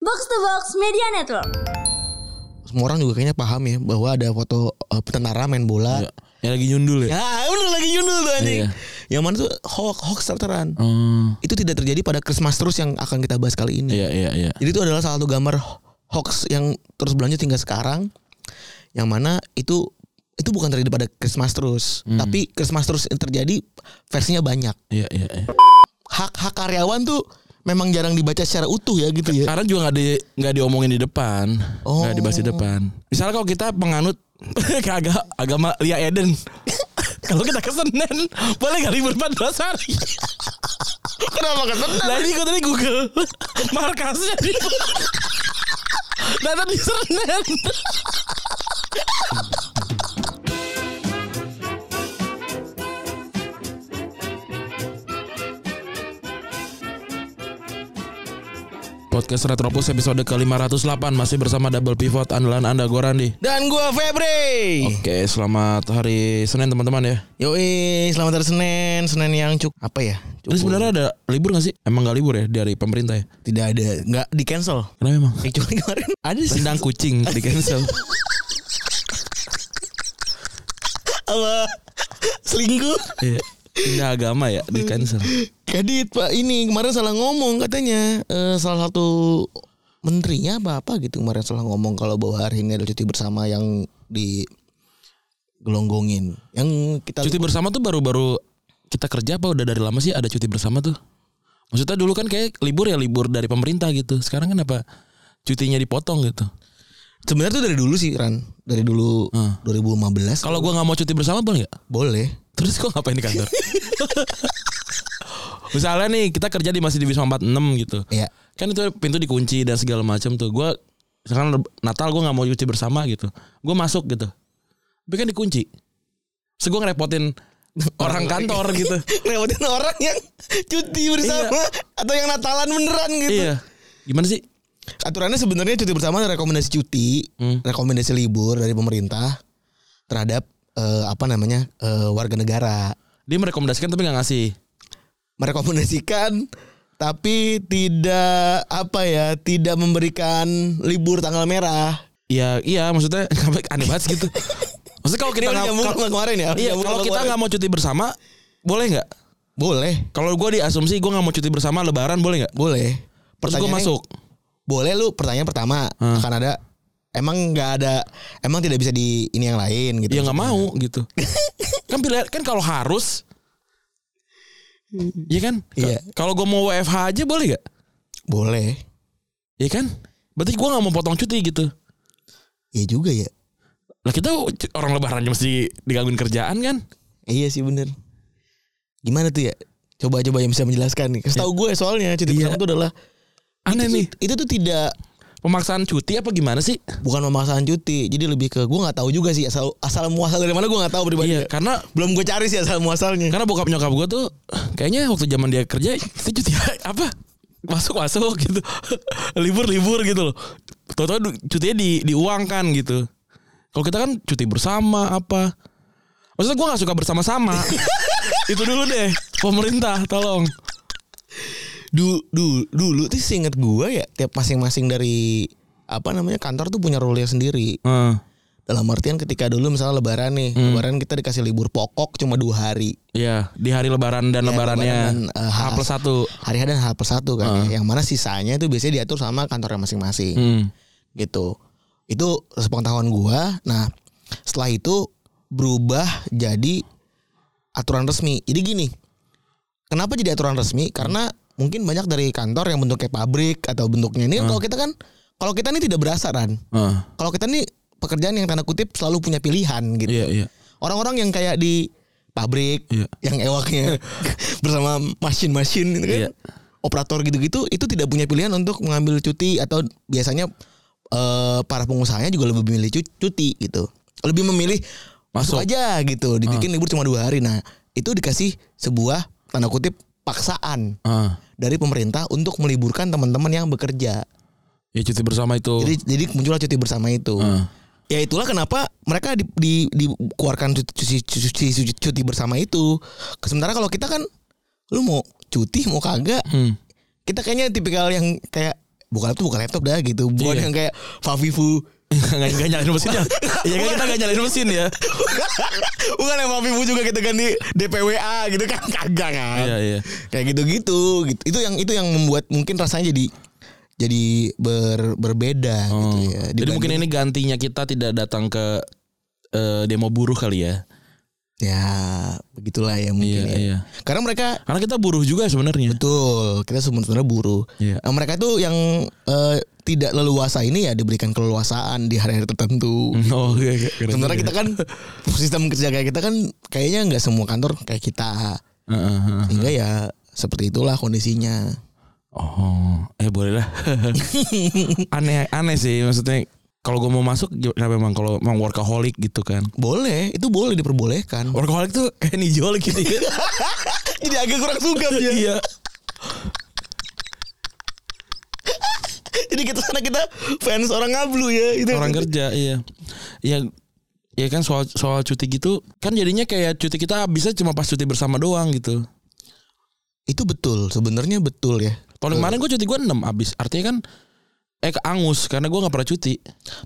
Box to Box Media Network. Semua orang juga kayaknya paham ya bahwa ada foto eh, tentara main bola. Ya, yang lagi nyundul ya. Ya, bener lagi nyundul tuh anjing. Iya. Yang mana tuh hoax hoax terteran. Oh, Itu tidak terjadi pada Christmas terus yang akan kita bahas kali ini. iya iya iya. Jadi itu adalah salah satu gambar ho- hoax yang terus berlanjut hingga sekarang. Yang mana itu itu bukan terjadi pada Christmas terus, Hmm. tapi Christmas terus yang terjadi versinya banyak. Iya iya iya. Hak hak karyawan tuh memang jarang dibaca secara utuh ya gitu ya. Karena juga nggak di nggak diomongin di depan, Oh. nggak dibahas di depan. Misalnya kalau kita penganut agak agama Lia Eden, kalau kita ke Senen boleh nggak libur 14 hari? Kenapa kesenang? Lah ini gue tadi Google markasnya di Data di Senen. Podcast Retropus episode ke-508 masih bersama Double Pivot andalan Anda Gorandi. Dan gua Febri. Oke, selamat hari Senin teman-teman ya. Yoi, selamat hari Senin. Senin yang cukup apa ya? Ini Cukup sebenarnya ada libur gak sih? Emang gak libur ya dari pemerintah ya? tidak ada, nggak di cancel. Kenapa emang? Kayak cuma kemarin ada sih. Tendang kucing di cancel. apa selingkuh. Iya. Pindah agama ya di cancel. Kadit Pak ini kemarin salah ngomong katanya Eh, salah satu menterinya apa apa gitu kemarin salah ngomong kalau bahwa hari ini ada cuti bersama yang di gelonggongin yang kita Cuti bersama tuh baru-baru kita kerja apa udah dari lama sih ada cuti bersama tuh? Maksudnya dulu kan kayak libur ya libur dari pemerintah gitu. Sekarang kenapa cutinya dipotong gitu? sebenarnya tuh dari dulu sih Ran dari dulu Hmm. 2015 Kalau gua nggak mau cuti bersama boleh nggak? boleh Terus gua ngapain di kantor? Misalnya nih kita kerja di masih di Wisma 46 gitu. ya Kan itu pintu dikunci dan segala macam tuh. Gua sekarang leb- Natal gua nggak mau cuti bersama gitu. Gua masuk gitu. Tapi kan dikunci. Terus gua ngerepotin orang kantor gitu. lewatin orang yang cuti bersama atau yang Natalan beneran gitu. Iya. Gimana sih? Aturannya sebenarnya cuti bersama ada rekomendasi cuti, Hmm. rekomendasi libur dari pemerintah terhadap eh, apa namanya eh, warga negara. Dia merekomendasikan tapi nggak ngasih. Merekomendasikan tapi tidak apa ya, tidak memberikan libur tanggal merah. Iya, iya maksudnya aneh banget gitu. Maksudnya kalau kita Ini nggak nyambung kalau- sama kemarin ya. iya, Nyambung kalau sama kita kemarin. nggak mau cuti bersama boleh nggak? boleh, Kalau gue di asumsi gue nggak mau cuti bersama Lebaran boleh nggak? boleh. Terus gue Pertanyaannya- masuk. Hmm. boleh lu pertanyaan pertama akan ada emang nggak ada emang tidak bisa di ini yang lain gitu Ya nggak mau gitu. kan pilihan kan kalau harus, iya kan? Ka- Iya. Kalau gue mau WFH aja boleh nggak? boleh Iya kan? Berarti gue nggak mau potong cuti gitu. iya juga ya Lah kita c- orang Lebaran aja mesti digangguin kerjaan kan? iya sih bener gimana tuh ya coba coba yang bisa menjelaskan nih kasih tahu gue soalnya cuti Iya. bersama itu adalah Aneh nih. itu tuh tidak Pemaksaan cuti apa gimana sih? bukan pemaksaan cuti jadi lebih ke gue nggak tahu juga sih asal asal muasal dari mana gue nggak tahu pribadi Iya, karena belum gue cari sih asal muasalnya Karena bokap nyokap gue tuh kayaknya waktu zaman dia kerja itu cuti apa masuk masuk gitu libur libur gitu loh. Tahu-tahu du- cutinya di diuangkan gitu. Kalau kita kan cuti bersama apa? Maksudnya gue nggak suka bersama-sama. itu dulu deh pemerintah tolong. dulu dulu dulu tuh seinget gue ya tiap masing-masing dari apa namanya kantor tuh punya rule sendiri Heeh. Dalam artian ketika dulu misalnya lebaran nih, lebaran kita dikasih libur pokok cuma dua hari. Iya di hari Lebaran dan Ya, Lebarannya Lebaran dan, eh, H plus satu. Ah. Hari H dan H plus satu kan. ya. Yang mana sisanya itu biasanya diatur sama kantornya masing-masing Hmm. gitu. Itu sepengetahuan gua. Nah, setelah itu berubah jadi aturan resmi. Jadi gini. Kenapa jadi aturan resmi? Karena mungkin banyak dari kantor yang bentuknya pabrik atau bentuknya Ah. ini kan kalau kita kan kalau kita ini tidak berasa kan. Heeh. Kalau kita nih pekerjaan yang tanda kutip selalu punya pilihan gitu. Iya iya. orang-orang yang kayak di pabrik Iya. yang ewaknya bersama mesin-mesin gitu kan Iya. operator gitu-gitu itu tidak punya pilihan untuk mengambil cuti atau biasanya eh, para pengusahanya juga lebih memilih cu- cuti gitu lebih memilih masuk, Masuk. Ah. aja gitu dibikin libur cuma dua hari nah itu dikasih sebuah tanda kutip paksaan Heeh. dari pemerintah untuk meliburkan teman-teman yang bekerja Ya cuti bersama itu. jadi jadi muncullah cuti bersama itu Heeh. ya itulah kenapa mereka di, di, dikeluarkan cuti, cuti, cuti, cuti- cuti bersama itu. Sementara kalau kita kan lu mau cuti mau kagak, Hmm. kita kayaknya tipikal yang kayak bukan laptop bukan laptop dah gitu bukan Iya. yang kayak Favivu nggak nggak nyalain mesinnya Iya kan kita nggak nyalain mesin ya bukan yang Favivu juga kita ganti DPWA gitu kan kagak kan iya iya kayak gitu-gitu gitu itu yang itu yang membuat mungkin rasanya jadi jadi ber, berbeda gitu Oh. ya jadi Dibanding- mungkin ini gantinya kita tidak datang ke eh, demo buruh kali ya ya begitulah ya mungkin Iya, ya. iya. karena mereka karena kita buruh juga sebenarnya betul kita sebenarnya buruh Iya. Nah, mereka tuh yang eh, tidak leluasa ini ya diberikan keleluasaan di hari-hari tertentu oh iya, iya. Keren sementara juga. kita kan sistem kerja kayak kita kan kayaknya nggak semua kantor kayak kita Heeh, heeh. sehingga ya seperti itulah kondisinya Oh, eh boleh lah. aneh aneh sih maksudnya kalau gue mau masuk kenapa emang kalau emang workaholic gitu kan. boleh itu boleh diperbolehkan Workaholic tuh kayak nijol gitu ya. jadi agak kurang sungkan ya Iya. Jadi kita sana kita fans orang ngablu ya itu. Orang kerja, iya. Ya ya kan soal soal cuti gitu kan jadinya kayak cuti kita habisnya cuma pas cuti bersama doang gitu. Itu betul, sebenarnya betul ya. Tahun kemarin gue cuti gue 6 habis. Artinya kan eh ke angus karena gue nggak pernah cuti.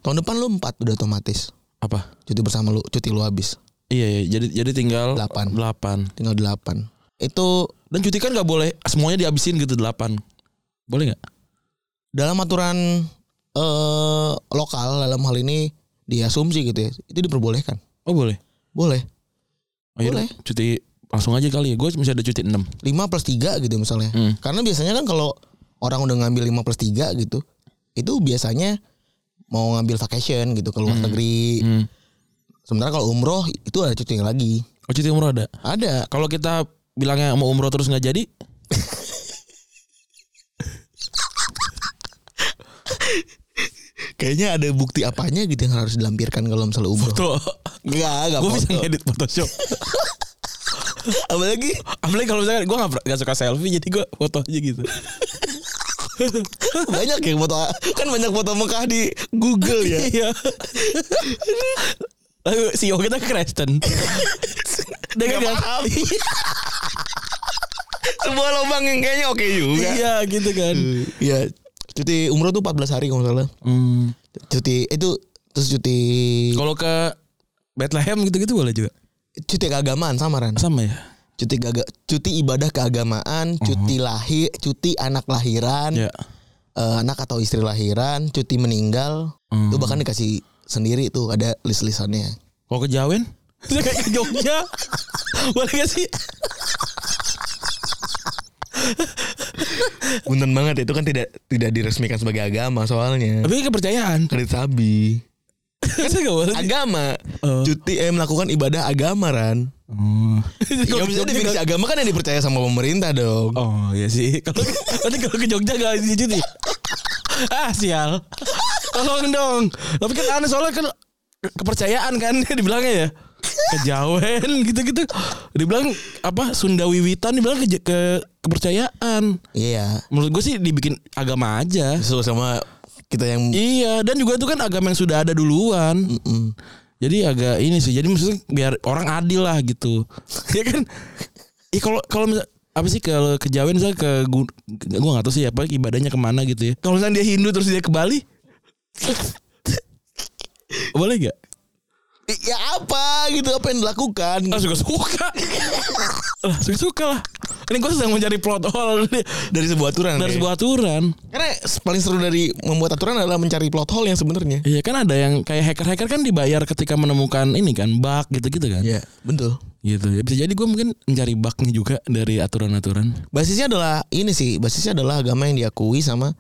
Tahun depan lu 4 udah otomatis. Apa? Cuti bersama lu, cuti lu habis. Iya, iya. jadi jadi tinggal Delapan. 8. Tinggal 8. Itu Dan cuti kan nggak boleh semuanya dihabisin gitu 8. Boleh nggak? dalam aturan eh lokal dalam hal ini diasumsi gitu ya. Itu diperbolehkan. Oh, boleh. Boleh. Ayo Boleh. cuti langsung aja kali ya. Gue masih ada cuti 6. 5 plus 3 gitu misalnya. Hmm. Karena biasanya kan kalau orang udah ngambil 5 plus 3 gitu, itu biasanya mau ngambil vacation gitu ke luar negeri. Hmm. Sementara kalau umroh itu ada cuti lagi. Oh cuti umroh ada. Ada. Kalau kita bilangnya mau umroh terus nggak jadi, Kayaknya ada bukti apanya gitu yang harus dilampirkan kalau misalnya umroh. tuh Enggak, enggak gue foto. bisa ngedit Photoshop. Apalagi Apalagi kalau misalnya gue nggak suka selfie, jadi gue foto aja gitu. banyak yang foto kan banyak foto Mekah di Google ya. Iya. Lalu CEO kita Kristen. Dia kan nggak- Sebuah lubang yang kayaknya oke juga. Iya gitu kan. Iya. Cuti umroh tuh 14 hari kalau nggak salah. Hmm. Cuti itu terus cuti Kalau ke Bethlehem gitu-gitu boleh juga. cuti keagamaan sama Ran. Sama ya. Cuti keaga- cuti ibadah keagamaan, cuti lahir, cuti anak lahiran. Ya. eh, anak atau istri lahiran, cuti meninggal, Hmm. itu bahkan dikasih sendiri tuh ada list-listannya. Kalau ke Jawen, saya kayak ke Jogja. boleh gak sih? Punten banget itu kan tidak tidak diresmikan sebagai agama soalnya. Tapi kepercayaan. Kredit sabi. Saya gak boleh. Agama. Eh. Cuti eh melakukan ibadah agama Ran. Hmm. Ya, bisa definisi agama kan yang dipercaya sama pemerintah dong. Oh iya sih. Kalau nanti kalau ke Jogja gak izin cuti. ya? Ah sial. Tolong dong. Tapi kan aneh soalnya kan kepercayaan kan dibilangnya ya. Kejawen gitu-gitu. Dibilang apa Sunda Wiwitan dibilang ke, ke kepercayaan. Iya. Menurut gue sih dibikin agama aja. Sesuai sama kita yang Iya, dan juga itu kan agama yang sudah ada duluan. Mm. Jadi agak ini sih. Jadi maksudnya biar orang adil lah gitu. ya kan? Ih kalau kalau misal- apa sih kalau kejawen saya ke gu- gua nggak tahu sih apa ibadahnya kemana gitu ya. Kalau misalnya dia Hindu terus dia ke Bali, boleh gak? ya apa gitu apa yang dilakukan. Langsung suka. Langsung suka lah. Ini gue sedang mencari plot hole nih. Dari sebuah aturan. dari ya. sebuah aturan. Karena paling seru dari membuat aturan adalah mencari plot hole yang sebenarnya. Iya kan ada yang kayak hacker-hacker kan dibayar ketika menemukan ini kan bug gitu-gitu kan. Iya, betul. Gitu. Ya, bisa jadi gue mungkin mencari bugnya juga dari aturan-aturan. basisnya adalah ini sih basisnya adalah agama yang diakui sama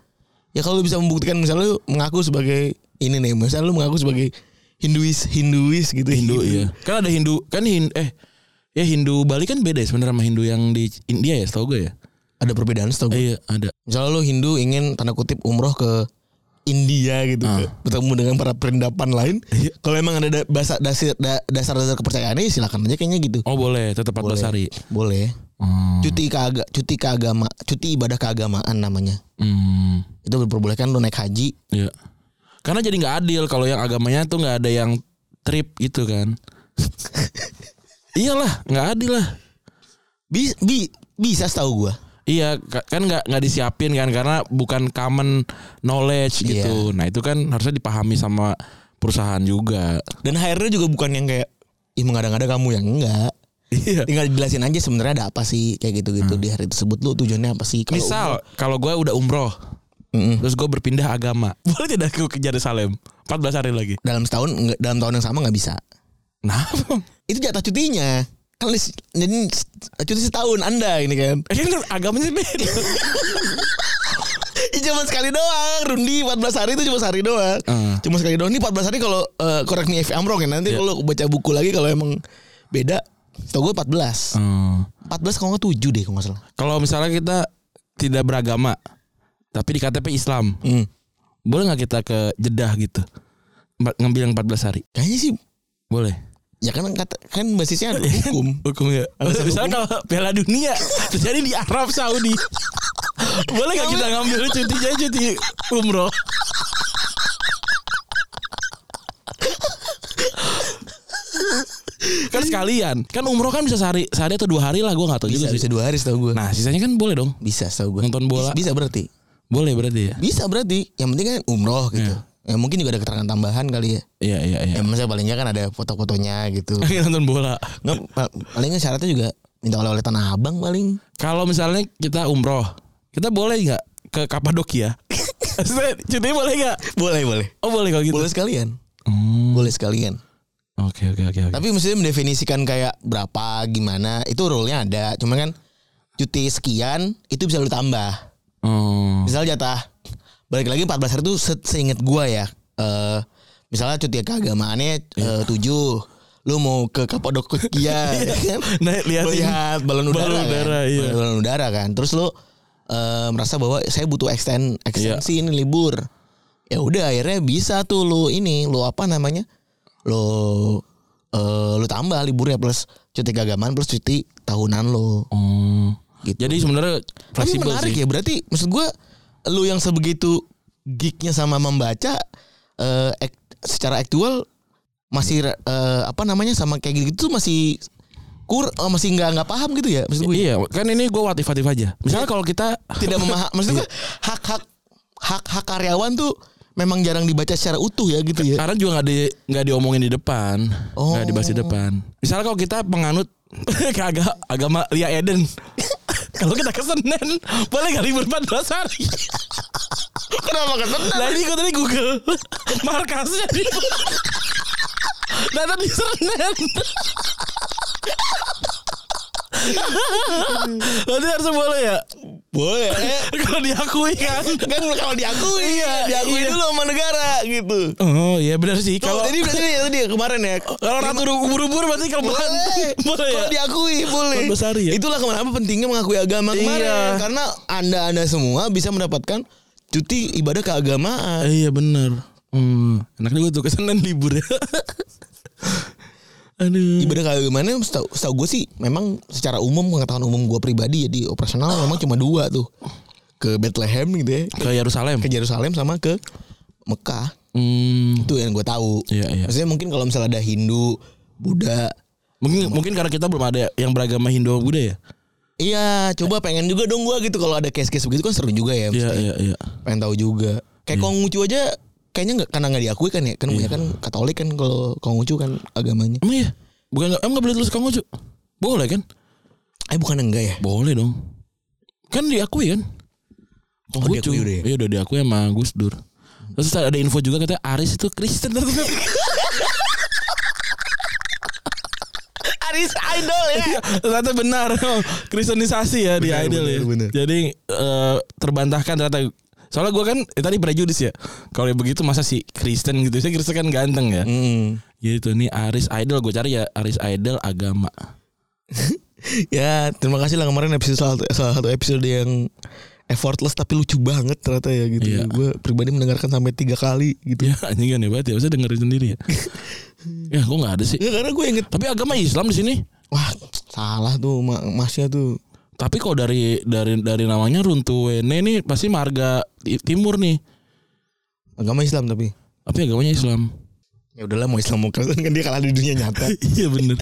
ya kalau lu bisa membuktikan misalnya lu mengaku sebagai ini nih misalnya lu mengaku sebagai Hinduis Hinduis gitu Hindu iya. Kan ada Hindu kan Hin- eh ya Hindu Bali kan beda ya sebenarnya sama Hindu yang di India ya setahu gue ya. ada perbedaan setahu gue Eh, iya ada. misalnya lu Hindu ingin tanda kutip umroh ke India gitu Ah. bertemu dengan para perindapan lain Iya. kalau emang ada da- basa- dasir- da- dasar-dasar kepercayaannya silakan aja kayaknya gitu Oh boleh tetap 14 Boleh. hari. boleh Hmm. cuti keaga cuti keagama cuti ibadah keagamaan namanya Hmm. itu diperbolehkan lu naik haji Iya. Karena jadi nggak adil kalau yang agamanya tuh nggak ada yang trip gitu kan. Iyalah, nggak adil lah. bi, bi- bisa setahu gua Iya, ka- kan nggak nggak disiapin kan karena bukan common knowledge gitu. Nah itu kan harusnya dipahami sama perusahaan juga. Dan HR-nya juga bukan yang kayak ih mengada-ngada kamu yang enggak. Iya. Tinggal dijelasin aja sebenarnya ada apa sih kayak gitu-gitu di hari tersebut lu tujuannya apa sih? Kalau Hmm. Misal kalau gue udah umroh, Mm-mm. terus gue berpindah agama, boleh tidak aku ke Yerusalem 14 hari lagi? dalam setahun enggak- dalam tahun yang sama nggak bisa. Nah, Itu jatah cutinya. Kan lis- jadi s- cuti setahun Anda ini kan. eh, kan agamanya beda. Ih, cuma sekali doang Rundi 14 hari itu cuma sehari doang Heeh. Cuma sekali doang Ini 14 hari kalau eh, Correct me if I'm wrong Ah. ya Nanti Iya. kalau baca buku lagi Kalau emang beda Tau gue 14 Hmm. 14 kalau nggak 7 deh kalau nggak salah Kalau misalnya kita tidak beragama, tapi di KTP Islam, Hmm. boleh nggak kita ke Jeddah gitu? Empat- Ngambil yang 14 hari, Kayaknya sih boleh. Ya kan kata, kan basisnya ada hukum Hukum ya. Alasan Misalnya kalau Piala Dunia terjadi di Arab Saudi. Boleh nggak kita ngambil cutinya cuti umroh? kan sekalian kan umroh kan bisa sehari sehari atau dua hari lah gue nggak tahu Bisa juga bisa sih. 2 hari setau gue nah sisanya kan boleh dong Bisa setau gue Nonton bola. Bisa, bisa berarti boleh berarti ya Bisa berarti Yang penting kan umroh gitu Ya mungkin juga ada keterangan tambahan kali ya iya iya iya Ya maksudnya paling nggak kan ada foto-fotonya gitu Kayak nonton bola Nggak, pa- Paling nggak syaratnya juga Minta oleh-oleh tanah abang paling kalau misalnya kita umroh kita boleh nggak ke Kapadokia Maksudnya, cuti boleh nggak Boleh boleh oh boleh kalau gitu Boleh sekalian Hmm. boleh sekalian. Oke oke oke. oke. Tapi maksudnya mendefinisikan kayak berapa, gimana, itu rule-nya ada. Cuman kan cuti sekian itu bisa lu tambah. Oh. Misal jatah balik lagi 14 hari itu se- seinget gua ya. Eh misalnya cuti keagamaannya Iya. eh, 7 lu mau ke Kapadokia kan? Nah, liatin Melihat balon udara, balon kan? udara, iya. Balon- balon udara kan. Terus lu eh, merasa bahwa saya butuh extend ekstensi Iya. ini libur. Ya udah akhirnya bisa tuh lu ini, lu apa namanya? Lu eh, lu tambah liburnya plus cuti keagamaan plus cuti tahunan lu. Oh. Gitu. Jadi sebenarnya Tapi fleksibel menarik sih. ya berarti maksud gua lu yang sebegitu geeknya sama membaca eh ek- secara aktual masih eh, apa namanya sama kayak gitu tuh masih kur eh, masih nggak nggak paham gitu ya maksud gue Iya, kan ini gue watif watif aja. Misalnya kalau kita tidak memaham maksud gua hak-hak hak-hak karyawan tuh memang jarang dibaca secara utuh ya gitu ya karena juga nggak di nggak diomongin di depan, Oh. nggak dibahas di depan. Misalnya kalau kita penganut kagak agama Lia Eden, kalau kita ke Senen boleh nggak libur 14 hari? kenapa kesenang Nah ini gue tadi Google markasnya di Datang di Senen. Berarti harusnya boleh ya? boleh Kalau diakui kan. kan kalau diakui Iya, diakui iya. dulu sama negara gitu Oh iya benar sih. kalau Kalau tadi berarti ya tadi ya, kemarin ya kalau ratu ubur-ubur berarti kalau bukan boleh boleh Kalau ya. diakui boleh 14 hari ya? itulah kenapa pentingnya mengakui agama kemarin Iya. karena anda anda semua bisa mendapatkan cuti ibadah keagamaan Iya benar. Hmm, enak juga tuh kesenan libur ya. Aduh. ibadah keagamaannya setahu, setahu gue sih memang secara umum pengetahuan umum gue pribadi ya di operasional memang cuma dua tuh ke Bethlehem gitu ya Ke Yerusalem. ke Yerusalem sama ke Mekah Hmm, itu yang gue tahu Iya, iya. maksudnya mungkin kalau misalnya ada Hindu Buddha mungkin mungkin karena kita belum ada yang beragama Hindu Buddha ya. Iya, coba pengen juga dong gue gitu kalau ada case-case begitu kan seru juga ya. Iya mesti. iya iya. pengen tahu juga kayak Konghucu aja kayaknya nggak karena nggak diakui kan ya kan punya kan Katolik kan kalau Konghucu kan agamanya Emang iya? Bukan nggak- emang gak boleh tulis konghucu? Boleh kan? eh bukan enggak ya Boleh dong. Kan diakui kan? Konghucu. diakui udah ya? Iya udah diakui sama Gus Dur. Terus ada info juga katanya Aris itu Kristen Aris Idol ya Iya, ternyata benar Kristenisasi ya di Benar, Idol benar, ya benar. jadi eh, terbantahkan ternyata soalnya gue kan eh, tadi prejudis ya kalau yang begitu masa si Kristen gitu saya Kristen kan ganteng ya Hmm. gitu nih Aris Idol gue cari ya Aris Idol agama ya terima kasih lah kemarin episode salah satu, salah satu episode yang effortless tapi lucu banget ternyata ya gitu Iya. gue pribadi mendengarkan sampai tiga kali gitu ya anjing kan hebat ya saya dengerin sendiri ya ya gue nggak ada sih ya karena gue inget tapi agama Islam di sini wah salah tuh ma- masnya tuh tapi kok dari dari dari namanya Runtuwene nih pasti marga ti- timur nih agama Islam tapi tapi agamanya Islam ya udahlah mau Islam mau Kristen kan dia kalah di dunia nyata iya bener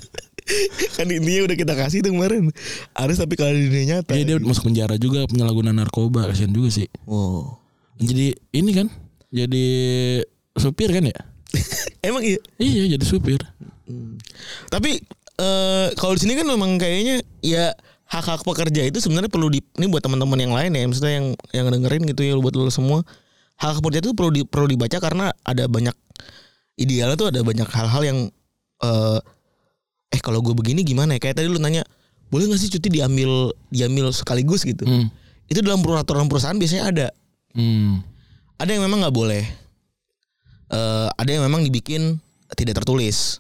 kan intinya udah kita kasih tuh kemarin. Aris tapi kalau di dunia nyata. Gitu. Iya dia masuk penjara juga penyalahgunaan narkoba kasihan juga sih. Wow. Jadi ini kan jadi supir kan ya? Emang iya. Iya jadi supir. Tapi eh kalau di sini kan memang kayaknya ya hak hak pekerja itu sebenarnya perlu di ini buat teman-teman yang lain ya maksudnya yang yang dengerin gitu ya buat lo semua hak hak pekerja itu perlu di, perlu dibaca karena ada banyak idealnya tuh ada banyak hal-hal yang eh eh kalau gue begini gimana ya kayak tadi lu nanya boleh nggak sih cuti diambil diambil sekaligus gitu Hmm. itu dalam peraturan perusahaan biasanya ada Hmm. ada yang memang nggak boleh Eh ada yang memang dibikin tidak tertulis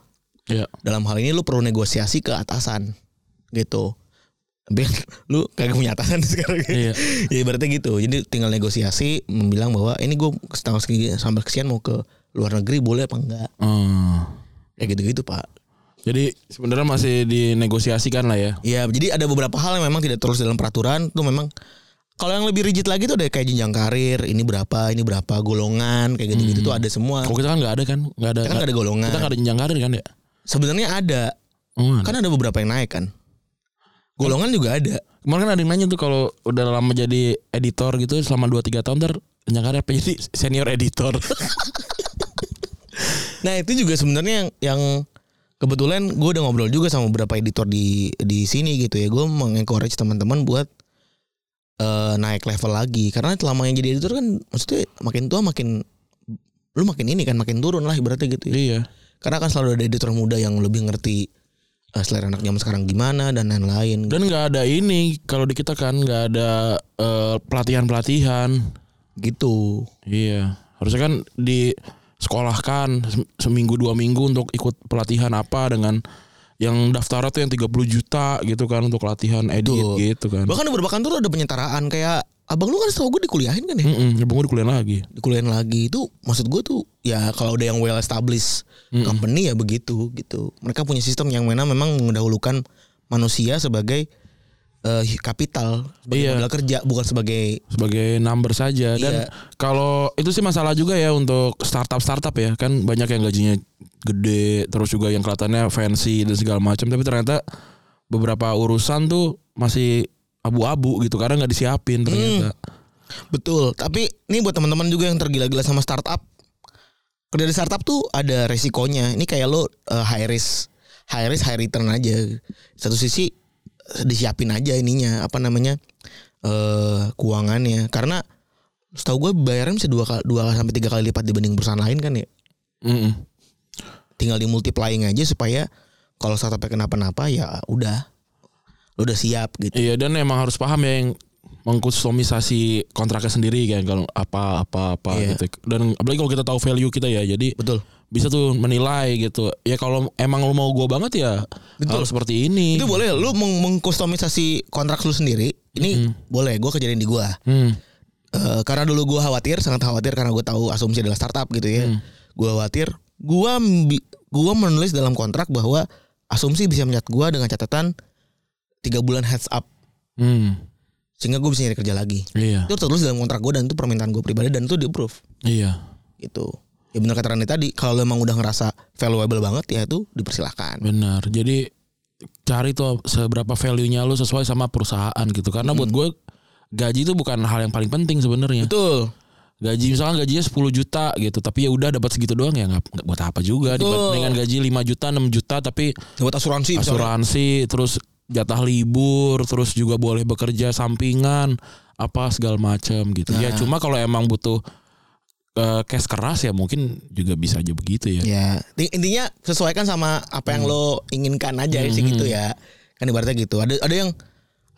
Ya. dalam hal ini lu perlu negosiasi ke atasan gitu biar lu kagak punya atasan sekarang Iya. ya berarti gitu jadi tinggal negosiasi membilang bahwa ini gue setahun segi- sampai kesian mau ke luar negeri boleh apa enggak Hmm. kayak gitu gitu pak Jadi sebenarnya masih dinegosiasikan lah ya. ya jadi ada beberapa hal yang memang tidak terus dalam peraturan tuh memang kalau yang lebih rigid lagi tuh ada kayak jenjang karir ini berapa ini berapa golongan kayak gitu gitu tuh ada semua Kalau kita kan nggak ada kan, nggak ada. Kita kan nggak ada golongan. Kita nggak ada jenjang karir kan ya? sebenarnya ada Oh, ada. kan ada beberapa yang naik kan golongan juga ada Kemarin kan ada yang nanya tuh kalau udah lama jadi editor gitu selama 2-3 tahun ntar jenjang karir apa jadi senior editor. Nah itu juga sebenarnya yang, yang kebetulan gue udah ngobrol juga sama beberapa editor di di sini gitu ya. Gue mengencourage teman-teman buat eh, naik level lagi karena selama yang jadi editor kan maksudnya makin tua makin lu makin ini kan makin turun lah ibaratnya gitu ya. iya. Karena kan selalu ada editor muda yang lebih ngerti eh, selera anak zaman sekarang gimana dan lain-lain. Dan nggak ada ini kalau di kita kan nggak ada eh, pelatihan-pelatihan. gitu. Iya, harusnya kan disekolahkan sem- seminggu dua minggu untuk ikut pelatihan apa dengan yang daftar tuh yang 30 juta gitu kan untuk latihan edit Betul. gitu kan. Bahkan beberapa kantor ada penyetaraan kayak abang lu kan setahu gue dikuliahin kan ya. Mm-mm, ya gue kuliah lagi. dikuliahin lagi itu maksud gue tuh ya kalau udah yang well established company ya begitu gitu mereka punya sistem yang mana memang mendahulukan manusia sebagai eh, kapital sebagai Iya. modal kerja bukan sebagai sebagai number saja dan Iya. kalau itu sih masalah juga ya untuk startup startup ya kan banyak yang gajinya gede terus juga yang kelihatannya fancy dan segala macam tapi ternyata beberapa urusan tuh masih abu-abu gitu karena nggak disiapin ternyata betul tapi ini buat teman-teman juga yang tergila-gila sama startup kerja di startup tuh ada resikonya ini kayak lo eh, high risk high risk high return aja satu sisi eh, disiapin aja ininya apa namanya eh keuangannya karena setahu gue bayarnya bisa dua kali dua sampai tiga kali lipat dibanding perusahaan lain kan ya Mm-mm. tinggal di multiplying aja supaya kalau startupnya kenapa-napa ya udah lo udah siap gitu Iya dan emang harus paham ya yang mengkustomisasi kontraknya sendiri kan kalau apa apa apa Iya. gitu. Dan apalagi kalau kita tahu value kita ya. Jadi betul bisa tuh menilai gitu. Ya kalau emang lu mau gua banget ya Betul. harus seperti ini. itu boleh lu meng- mengkustomisasi kontrak lu sendiri ini boleh gue kejadian di gue Hmm. Eh, karena dulu gue khawatir sangat khawatir karena gue tahu asumsi adalah startup gitu ya Mm. Hmm. gue khawatir gue gua menulis dalam kontrak bahwa asumsi bisa mencat gue dengan catatan tiga bulan heads up Hmm. sehingga gue bisa nyari kerja lagi Iya. itu tertulis dalam kontrak gue dan itu permintaan gue pribadi dan itu di approve Iya. gitu ya benar kata Randy tadi kalau lu emang udah ngerasa valuable banget ya itu dipersilakan Benar. Jadi cari tuh seberapa value-nya lu sesuai sama perusahaan gitu. Karena buat gua gaji itu bukan hal yang paling penting Hmm. sebenarnya. betul Gaji misalkan gajinya 10 juta gitu, tapi ya udah dapat segitu doang ya nggak nggak buat apa Betul. juga Iya, dibanding dengan gaji 5 juta, 6 juta tapi buat asuransi misalnya. asuransi terus jatah libur terus juga boleh bekerja sampingan apa segala macam gitu Nah. ya cuma kalau emang butuh eh, cash keras ya mungkin juga bisa aja begitu ya Ya, ti- intinya sesuaikan sama apa yang lo inginkan aja sih gitu ya. Kan ibaratnya gitu. Ada ada yang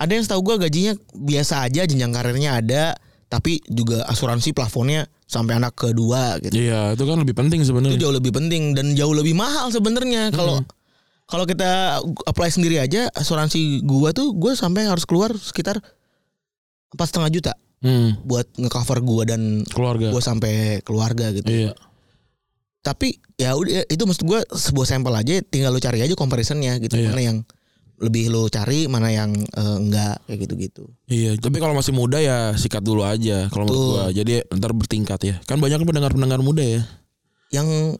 ada yang setahu gua gajinya biasa aja, jenjang karirnya ada, tapi juga asuransi plafonnya sampai anak kedua gitu. iya itu kan lebih penting Itu sebenarnya jauh lebih penting dan jauh lebih mahal sebenarnya kalau kalau kita apply sendiri aja asuransi gua tuh gua sampai harus keluar sekitar empat setengah juta Hmm, buat ngecover gua dan keluarga gua sampai keluarga gitu. iya tapi ya udah itu maksud gue sebuah sampel aja tinggal lu cari aja comparisonnya gitu Iya. mana yang lebih lu cari mana yang eh, enggak kayak gitu gitu Iya, tapi kalau masih muda ya sikat dulu aja kalau menurut Betul. gua. Jadi ntar bertingkat ya. Kan banyak pendengar-pendengar muda ya. yang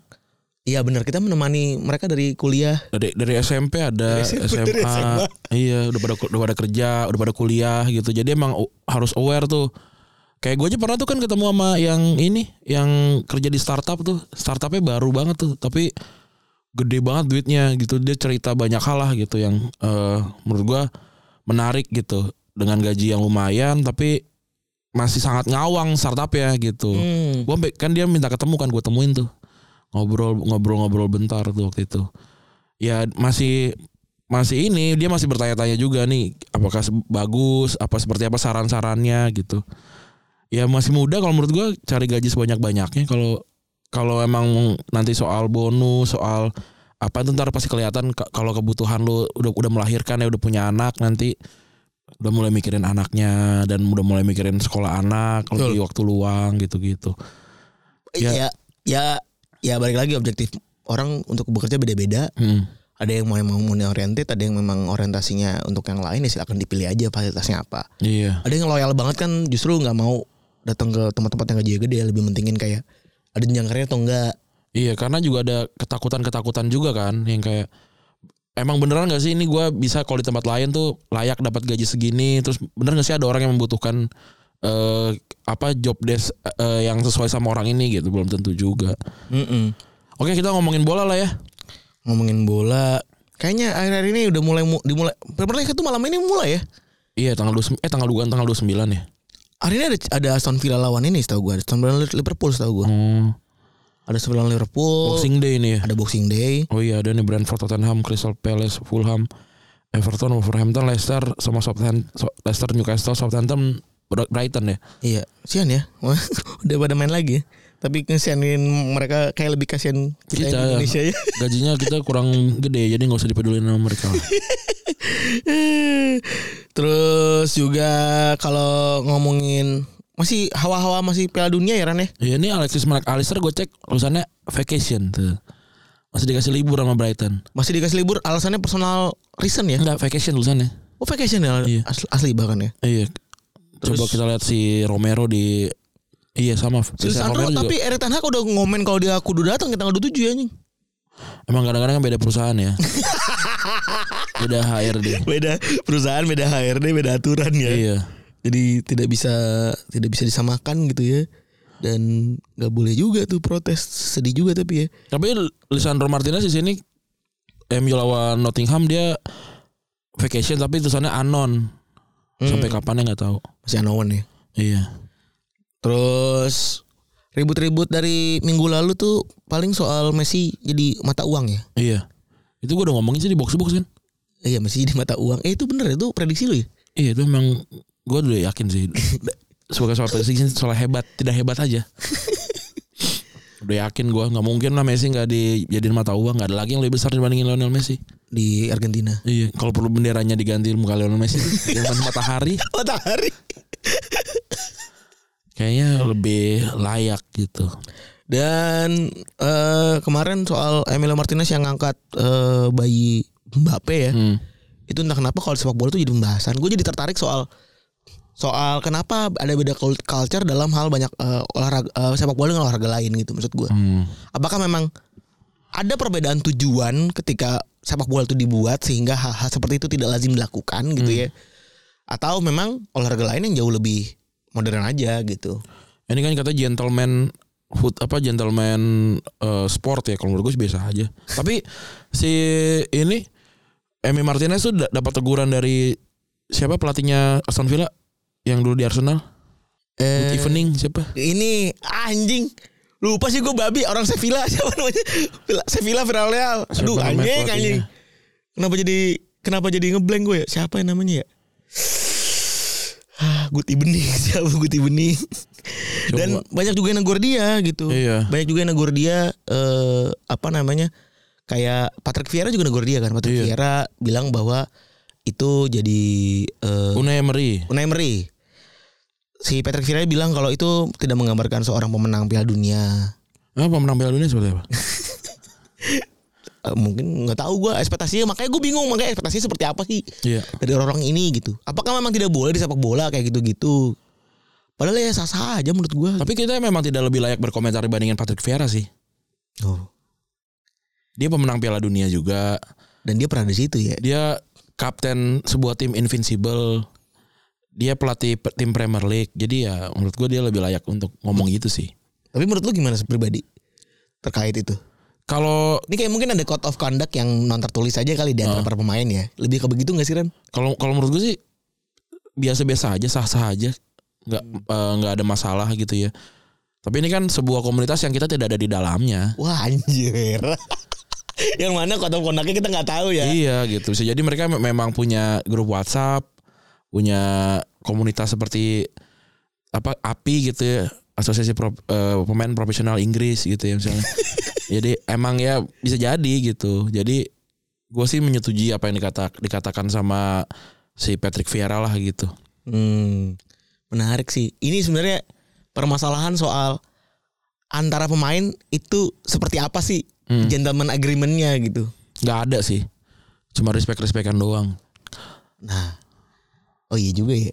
Iya benar kita menemani mereka dari kuliah. dari dari SMP ada SMA, dari SMA. iya udah pada udah pada kerja udah pada kuliah gitu jadi emang u- harus aware tuh kayak gue aja pernah tuh kan ketemu sama yang ini yang kerja di startup tuh startupnya baru banget tuh tapi gede banget duitnya gitu dia cerita banyak hal lah gitu yang eh, menurut gue menarik gitu dengan gaji yang lumayan tapi masih sangat ngawang startup ya gitu Hmm. gua sampai kan dia minta ketemu kan gue temuin tuh ngobrol ngobrol ngobrol bentar tuh waktu itu ya masih masih ini dia masih bertanya-tanya juga nih apakah se- bagus apa seperti apa saran-sarannya gitu ya masih muda kalau menurut gua cari gaji sebanyak-banyaknya kalau kalau emang nanti soal bonus soal apa itu ntar pasti kelihatan ka- kalau kebutuhan lu udah udah melahirkan ya udah punya anak nanti udah mulai mikirin anaknya dan udah mulai mikirin sekolah anak Betul. lebih waktu luang gitu-gitu Ya. ya ya balik lagi objektif orang untuk bekerja beda-beda. Hmm. Ada yang mau yang mau money oriented, ada yang memang orientasinya untuk yang lain ya silakan dipilih aja fasilitasnya apa. Iya. Ada yang loyal banget kan justru nggak mau datang ke tempat-tempat yang gajinya gede lebih mentingin kayak ada jenjang karir atau enggak. Iya, karena juga ada ketakutan-ketakutan juga kan yang kayak emang beneran gak sih ini gua bisa kalau di tempat lain tuh layak dapat gaji segini, terus bener gak sih ada orang yang membutuhkan eh apa job desk eh, yang sesuai sama orang ini gitu, belum tentu juga. Oke, kita ngomongin bola lah ya. Ngomongin bola, kayaknya akhir-akhir ini udah mulai mu- dimulai. Premier League itu malam ini mulai ya. Iya, tanggal 29 eh tanggal dugaan tanggal 29 ya. Hari ini ada, ada Aston Villa lawan ini setahu gue. Aston Villa Liverpool setahu gue. Hmm. Ada Aston Villa Liverpool. Boxing Day ini ya. Ada Boxing Day. Oh iya, ada nih Brentford, Tottenham, Crystal Palace, Fulham, Everton, Wolverhampton, Leicester sama Southampton, Leicester, Newcastle, Southampton, Brighton ya. Iya, sian ya. Wah, udah pada main lagi. ya. Tapi kesianin mereka kayak lebih kasihan kita, Kita, yang ya. Indonesia ya. gajinya kita kurang gede jadi nggak usah dipeduliin sama mereka Terus juga kalau ngomongin masih hawa-hawa masih Piala Dunia ya Ran ya. ya ini Alexis Mac Alistair gue cek tulisannya vacation tuh masih dikasih libur sama Brighton Masih dikasih libur alasannya personal reason ya. enggak vacation tulisannya Oh vacation ya Hmm. Iya. asli, asli bahkan ya. iya Terus- coba kita lihat si Romero di iya sama Cristiano Lisandro juga. tapi Erik Ten Hag udah ngomen kalau dia kudu datang ke tanggal 27 ya anjing. emang kadang-kadang kan beda perusahaan ya beda HRD Beda perusahaan, beda HRD, beda aturan ya. iya Jadi tidak bisa tidak bisa disamakan gitu ya. Dan nggak boleh juga tuh protes. Sedih juga tapi ya. tapi Lisandro Martinez di sini MU lawan Nottingham dia vacation tapi tulisannya anon sampai Hmm. kapannya nggak tahu Masih anowan ya. iya Terus ribut-ribut dari minggu lalu tuh paling soal Messi jadi mata uang ya. Iya. Itu gue udah ngomongin sih di box to box kan. Iya Messi jadi mata uang. Eh itu bener ya? itu prediksi lu ya. Iya itu emang gue udah yakin sih. Sebagai soal prediction soal hebat tidak hebat aja. udah yakin gue nggak mungkin lah Messi nggak dijadiin mata uang nggak ada lagi yang lebih besar dibandingin Lionel Messi. di Argentina. Iya. Kalau perlu benderanya diganti muka Lionel Messi dengan matahari Matahari. kayaknya lebih layak gitu. Dan eh, kemarin soal Emilio Martinez yang ngangkat eh, bayi Mbappe ya. Hmm. Itu entah kenapa kalau di sepak bola tuh jadi pembahasan. Gue jadi tertarik soal soal kenapa ada beda cult- culture dalam hal banyak eh, olahraga eh, sepak bola dengan olahraga lain gitu maksud gue. Hmm. Apakah memang ada perbedaan tujuan ketika sepak bola itu dibuat sehingga hal-hal seperti itu tidak lazim dilakukan gitu Hmm. ya? Atau memang olahraga lain yang jauh lebih modern aja gitu? Ini kan kata gentleman food apa gentleman eh, sport ya kalau menurut gue sih biasa aja. Tapi si ini Emi Martinez tuh da- dapat teguran dari siapa pelatihnya Aston Villa yang dulu di Arsenal? Good Eh, evening siapa? ini anjing lupa sih gue babi orang Sevilla siapa namanya Villa, Sevilla Villarreal Siapa aduh namanya anjing pelatihnya? anjing kenapa jadi kenapa jadi ngeblank gue ya siapa yang namanya ya Ah, Guti Bening siapa Guti Bening dan banyak juga yang negor dia gitu Iya. banyak juga yang negor dia eh, apa namanya kayak Patrick Vieira juga negor dia kan Patrick Iya. Vieira bilang bahwa itu jadi eh, Unai Emery. Unai Emery. Si Patrick Vieira bilang kalau itu tidak menggambarkan seorang pemenang Piala Dunia. Apa pemenang Piala Dunia seperti apa? Eh, mungkin nggak tahu gua ekspektasinya makanya gue bingung makanya ekspektasinya seperti apa sih Iya. dari orang-orang ini gitu apakah memang tidak boleh di sepak bola kayak gitu-gitu padahal ya sah-sah aja menurut gua Tapi kita memang tidak lebih layak berkomentar dibandingin Patrick Vieira sih. oh. Dia pemenang Piala Dunia juga. Dan dia pernah di situ ya. Dia kapten sebuah tim invincible. Dia pelatih pe- tim Premier League. Jadi ya menurut gue dia lebih layak untuk ngomong gitu sih. Tapi menurut lu gimana pribadi terkait itu? Kalau Ini kayak mungkin ada code of conduct yang non tertulis aja kali di antara para pemain ya. Lebih ke begitu gak sih Ren? kalau kalau menurut gue sih biasa-biasa aja, sah-sah aja, nggak eh, nggak ada masalah gitu ya. Tapi ini kan sebuah komunitas yang kita tidak ada di dalamnya. Wah anjir. yang mana code of conductnya kita nggak tahu ya. Iya gitu. Bisa jadi mereka me- memang punya grup WhatsApp, punya komunitas seperti apa API gitu ya, Asosiasi Pro- eh, Pemain Profesional Inggris gitu ya misalnya. jadi emang ya bisa jadi gitu. Jadi gue sih menyetujui apa yang dikata, dikatakan sama si Patrick Vieira lah gitu. Hmm, menarik sih. Ini sebenarnya permasalahan soal antara pemain itu seperti apa sih Hmm. gentleman agreementnya gitu. nggak ada sih cuma respect respectan doang Nah, oh iya juga ya.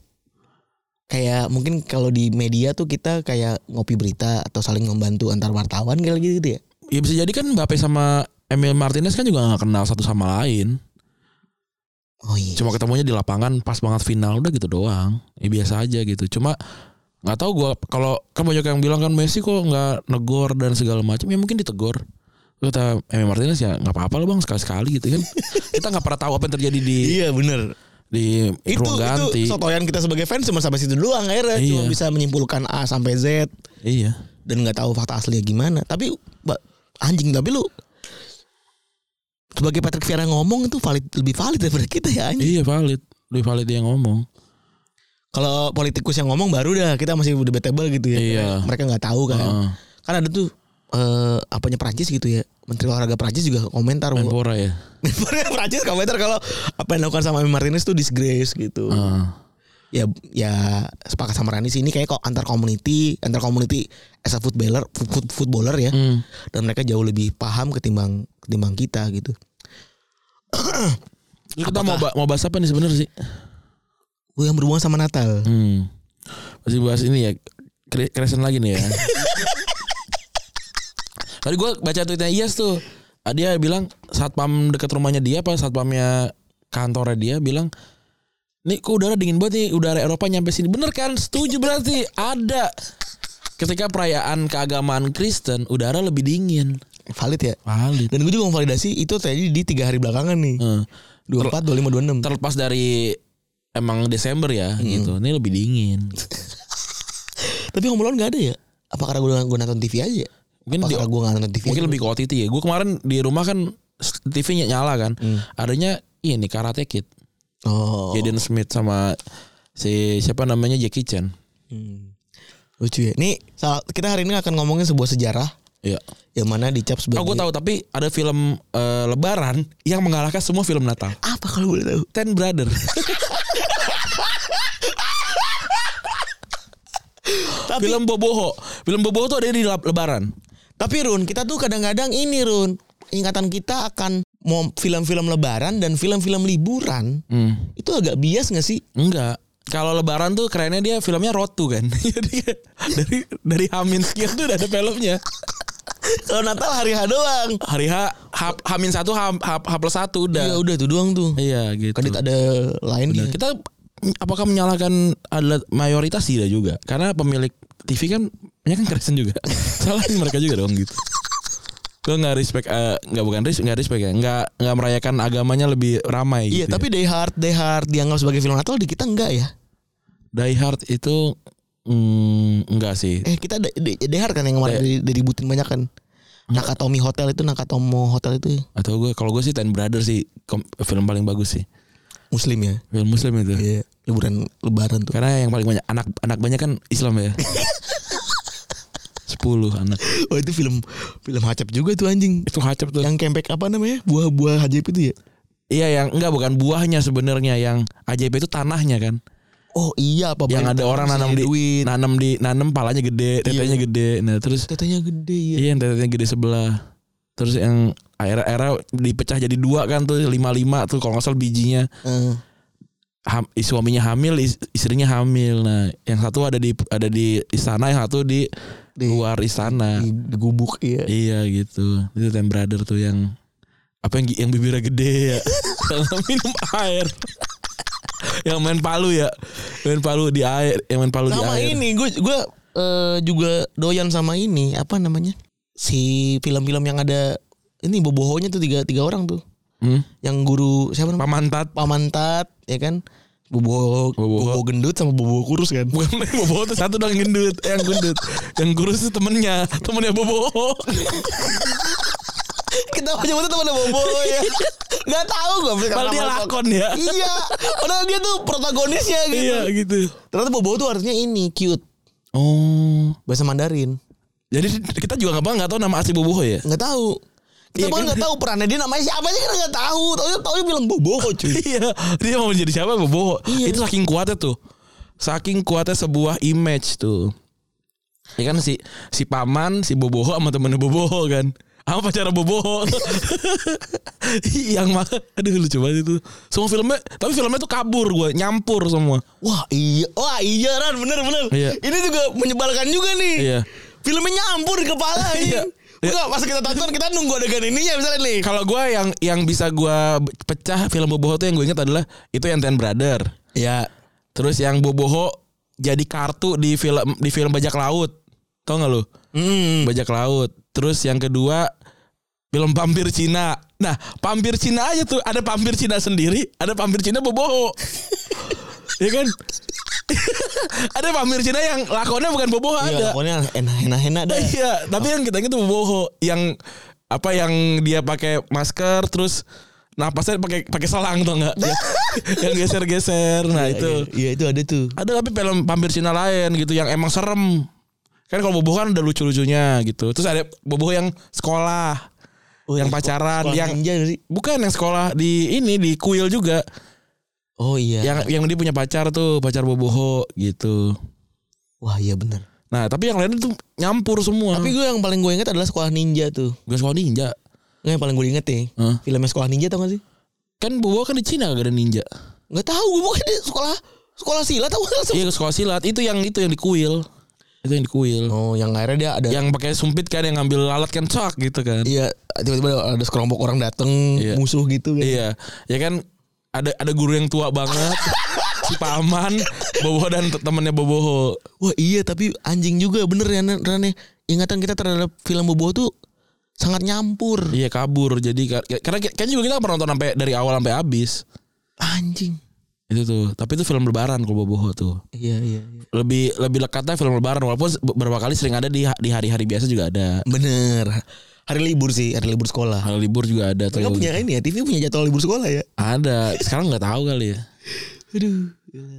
Kayak mungkin kalau di media tuh kita kayak ngopi berita atau saling membantu antar wartawan kayak gitu, gitu ya. ya bisa jadi kan Mbappe sama Emil Martinez kan juga nggak kenal satu sama lain Oh iya. cuma ketemunya di lapangan pas banget final udah gitu doang ya biasa aja gitu cuma nggak tahu gua kalau kan banyak yang bilang kan Messi kok nggak negor dan segala macam ya mungkin ditegor kata Emil Martinez ya nggak apa-apa lah bang sekali-sekali gitu kan kita nggak pernah tahu apa yang terjadi di iya bener di Itu ruang itu ganti sotoyan kita sebagai fans cuma sampai situ doang akhirnya cuma Iya. bisa menyimpulkan A sampai Z iya dan nggak tahu fakta aslinya gimana. Tapi ba- anjing tapi lu sebagai Patrick Vieira ngomong itu valid lebih valid daripada kita ya anjing. iya valid lebih valid yang ngomong Kalau politikus yang ngomong baru dah kita masih debatable gitu ya. Iya. Mereka nggak tahu kan. Heeh. Kan ada tuh eh, apanya Prancis gitu ya. Menteri olahraga Prancis juga komentar bahwa- Menpora ya Menpora Prancis komentar kalau apa yang dilakukan sama Emi Martinez tuh disgrace gitu. Heeh. Ya ya sepakat sama Rani sih ini kayak kok antar community, antar community as a footballer, foot- footballer ya. Hmm. dan mereka jauh lebih paham ketimbang ketimbang kita gitu. Ini Kita mau ba- mau bahas apa nih sebenarnya sih? Gue yang berhubungan sama Natal. Hmm. Masih bahas ini ya. kre- Kresen lagi nih ya. Tadi gue baca tweetnya Iyas tuh. Ah, Dia bilang satpam dekat rumahnya dia apa satpamnya kantornya dia bilang Nih kok udara dingin banget nih udara Eropa nyampe sini bener kan setuju berarti ada ketika perayaan keagamaan Kristen udara lebih dingin Valid ya. valid Dan gue juga memvalidasi itu terjadi di tiga hari belakangan nih. Heeh. 24, 25, 26. terlepas dari emang Desember ya gitu ini lebih dingin Tapi Home Alone gak ada ya? Apa karena gue, gue nonton TV aja? mungkin Apa di karena gue gak nonton TV mungkin aja? lebih ke OTT ya. Gue kemarin di rumah kan TV-nya nyala kan. Adanya ini Karate Kid, Hmm. Oh. Jaden Smith sama si siapa namanya Jackie Chan. Hmm. Lucu ya. Nih, soal- kita hari ini akan ngomongin sebuah sejarah Iya. yang mana dicap sebagai Oh, gue tahu tapi ada film eh, Lebaran yang mengalahkan semua film Natal. apa kalau boleh tahu? Ten Brother. Tapi film Boboho. Film Boboho tuh ada di lab- Lebaran. tapi Run, kita tuh kadang-kadang ini Run, ingatan kita akan mau film-film lebaran dan film-film liburan. Hmm. Itu agak bias gak sih? Enggak. Kalau Lebaran tuh kerennya dia filmnya Rotu kan. Jadi kayak dari dari Hamin sekian tuh udah ada filmnya. Kalau Natal hari H doang. Hari H, H Hamin satu, H, H, H plus satu Ya udah. udah tuh doang tuh. Iya gitu. Kadit ada lain Benar. gitu. Kita apakah menyalahkan adalah mayoritas tidak juga? Karena pemilik TV kan banyak kan Kristen juga. Salahin mereka juga dong gitu. Gue nggak respect, eh, nggak bukan respect, nggak respect ya, nggak nggak merayakan agamanya lebih ramai. Iya, gitu tapi Die Hard, Die Hard dianggap sebagai film Natal di kita enggak ya? ya. Die Hard itu mm, enggak sih. Eh, kita Die- Die Die Hard kan yang kemarin Die- di- diributin banyak kan. Nakatomi Hotel itu Nakatomo Hotel itu Atau gue kalau gue sih Ten Brother sih kom- film paling bagus sih muslim ya. film Muslim itu. Iya, liburan lebaran tuh. Karena yang paling banyak anak anak banyak kan Islam ya. 10 anak Oh, itu film film hacap juga tuh anjing. itu hacep tuh Yang kempek apa namanya? Buah-buah hajib itu ya. Iya yang enggak bukan buahnya sebenarnya yang ajaib itu tanahnya kan. Oh, iya apa yang ada orang nanam di duit. Iya. nanam di nanam palanya gede, tetenya gede. Nah, terus Tetenya gede ya. iya yang tetenya gede sebelah. Terus yang era-era dipecah jadi dua kan tuh lima-lima tuh kalau nggak salah bijinya Eh, Ham- is- suaminya hamil is- istrinya hamil nah yang satu ada di ada di istana yang satu di, Di- luar istana di, di gubuk ya. iya gitu itu Ten Brother tuh yang apa yang yang bibirnya gede ya yang minum air yang main palu ya main palu di air yang main palu di sama air ini gue gue eh, juga doyan sama ini apa namanya si film-film yang ada ini bobohonya tuh tiga tiga orang tuh Hmm? yang guru siapa namanya pamantat pamantat ya kan boboho Boboho. boboho gendut sama boboho kurus kan bukan main bobo tuh satu dong gendut Eh, yang gendut yang kurus tuh temennya temennya bobo Iya, kita punya itu teman boboho ya nggak tahu gue Padahal dia lakon ya iya padahal dia tuh protagonisnya gitu iya gitu ternyata boboho tuh artinya ini cute oh bahasa Mandarin jadi kita juga nggak nggak tahu nama asli boboho ya nggak tahu kita Iya bahkan kan? nggak tahu perannya dia namanya siapa sih kita nggak tahu tahu tahu bilang boboho cuy Iya, dia mau menjadi siapa bobo. Iya. Itu saking kuatnya tuh. Saking kuatnya sebuah image tuh. Ya kan si si paman, si boboho sama temennya boboho kan. Apa pacara boboho? Yang mah aduh lucu banget itu. Semua filmnya, tapi filmnya tuh kabur gua, nyampur semua. Wah iya, wah iya Ran, bener bener. Iya. Ini juga menyebalkan juga nih. Iya. Filmnya nyampur di kepala Iya. iya. Enggak, pas kita tonton kita nunggu adegan ininya misalnya nih. Kalau gua yang yang bisa gua pecah film boboho tuh yang gue ingat adalah itu yang Ten Brother. Ya. Terus yang boboho jadi kartu di film di film Bajak Laut. Tau gak lu? Hmm. bajak laut. Terus yang kedua film pampir Cina. Nah, pampir Cina aja tuh ada pampir Cina sendiri, ada pampir Cina boboho. ya kan? ada pampir Cina yang lakonnya bukan boboho ada. Iya, pokoknya enak-enak dah. Iya, tapi yang kita itu boboho yang apa yang dia pakai masker terus napasnya pakai pakai selang tuh enggak? yang geser-geser. Nah, itu. Iya, itu ada tuh. Ada tapi film pampir Cina lain gitu yang emang serem. Kan kalau boboh kan udah lucu-lucunya gitu. Terus ada boboh yang sekolah, Oh, yang pacaran, sekolah yang ninja nggak sih? bukan yang sekolah di ini di kuil juga. Oh iya. Yang yang dia punya pacar tuh, pacar boboho gitu. Wah, iya bener. Nah, tapi yang lain tuh nyampur semua. Tapi gue yang paling gue inget adalah sekolah ninja tuh. bukan sekolah ninja. Nggak, yang paling gue inget nih. Hah? Filmnya sekolah ninja tau gak sih? Kan boboh kan di Cina gak ada ninja. Nggak tahu, gue pokoknya di sekolah sekolah silat tau gak sih? Iya, ke sekolah silat. Itu yang itu yang di kuil. Itu yang di kuil. Oh, yang akhirnya dia ada Yang pakai sumpit kan yang ngambil alat kan cak gitu kan. Iya, tiba-tiba ada sekelompok orang dateng Iya. musuh gitu kan. Iya, ya kan ada ada guru yang tua banget, si paman, boboho dan te- temennya boboho. Wah iya tapi anjing juga bener ya Ren- Ren ya. Ingatan kita terhadap film Bobo tuh sangat nyampur. Iya kabur, jadi ka- karena ki- kan juga kita nggak pernah nonton sampai dari awal sampai habis Anjing. itu tuh. Tapi itu film lebaran kalau boboho tuh. Iya iya. iya. Lebih lebih lekatnya film lebaran walaupun beberapa kali sering ada di ha- di hari-hari biasa juga ada. Bener. Hari libur sih, hari libur sekolah. Hal libur juga ada tuh. Mereka punya ini ya, TV punya jadwal libur sekolah ya. Ada. Sekarang nggak tahu kali ya. Aduh. gila.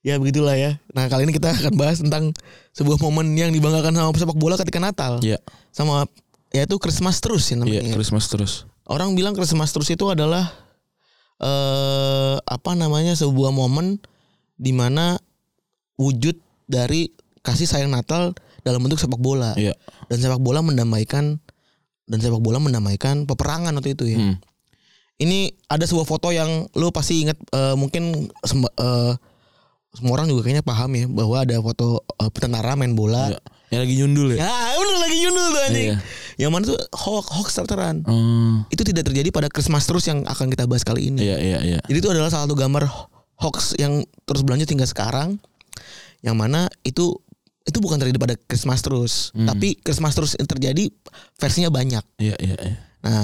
Ya begitulah ya. Nah kali ini kita akan bahas tentang sebuah momen yang dibanggakan sama pesepak bola ketika Natal. Iya. Sama yaitu Christmas terus ya Iya, namanya. Christmas terus. orang bilang Christmas terus itu adalah eh apa namanya sebuah momen di mana wujud dari kasih sayang Natal dalam bentuk sepak bola. Iya. Dan sepak bola mendamaikan dan sepak bola mendamaikan peperangan waktu itu ya. Hmm. Ini ada sebuah foto yang lo pasti ingat eh, mungkin semba- eh, semua orang juga kayaknya paham ya bahwa ada foto eh, tentara main bola. Iya. Yang lagi nyundul ya. Ya, bener lagi Yunus tuh anjing. Iya. Yang mana tuh hoax hoax terteran Oh. itu tidak terjadi pada Christmas terus yang akan kita bahas kali ini. Iya, iya, iya. Jadi itu adalah salah satu gambar hoax yang terus berlanjut hingga sekarang. Yang mana itu itu bukan terjadi pada Christmas terus, Hmm. tapi Christmas terus yang terjadi versinya banyak. Iya, iya, iya. Nah,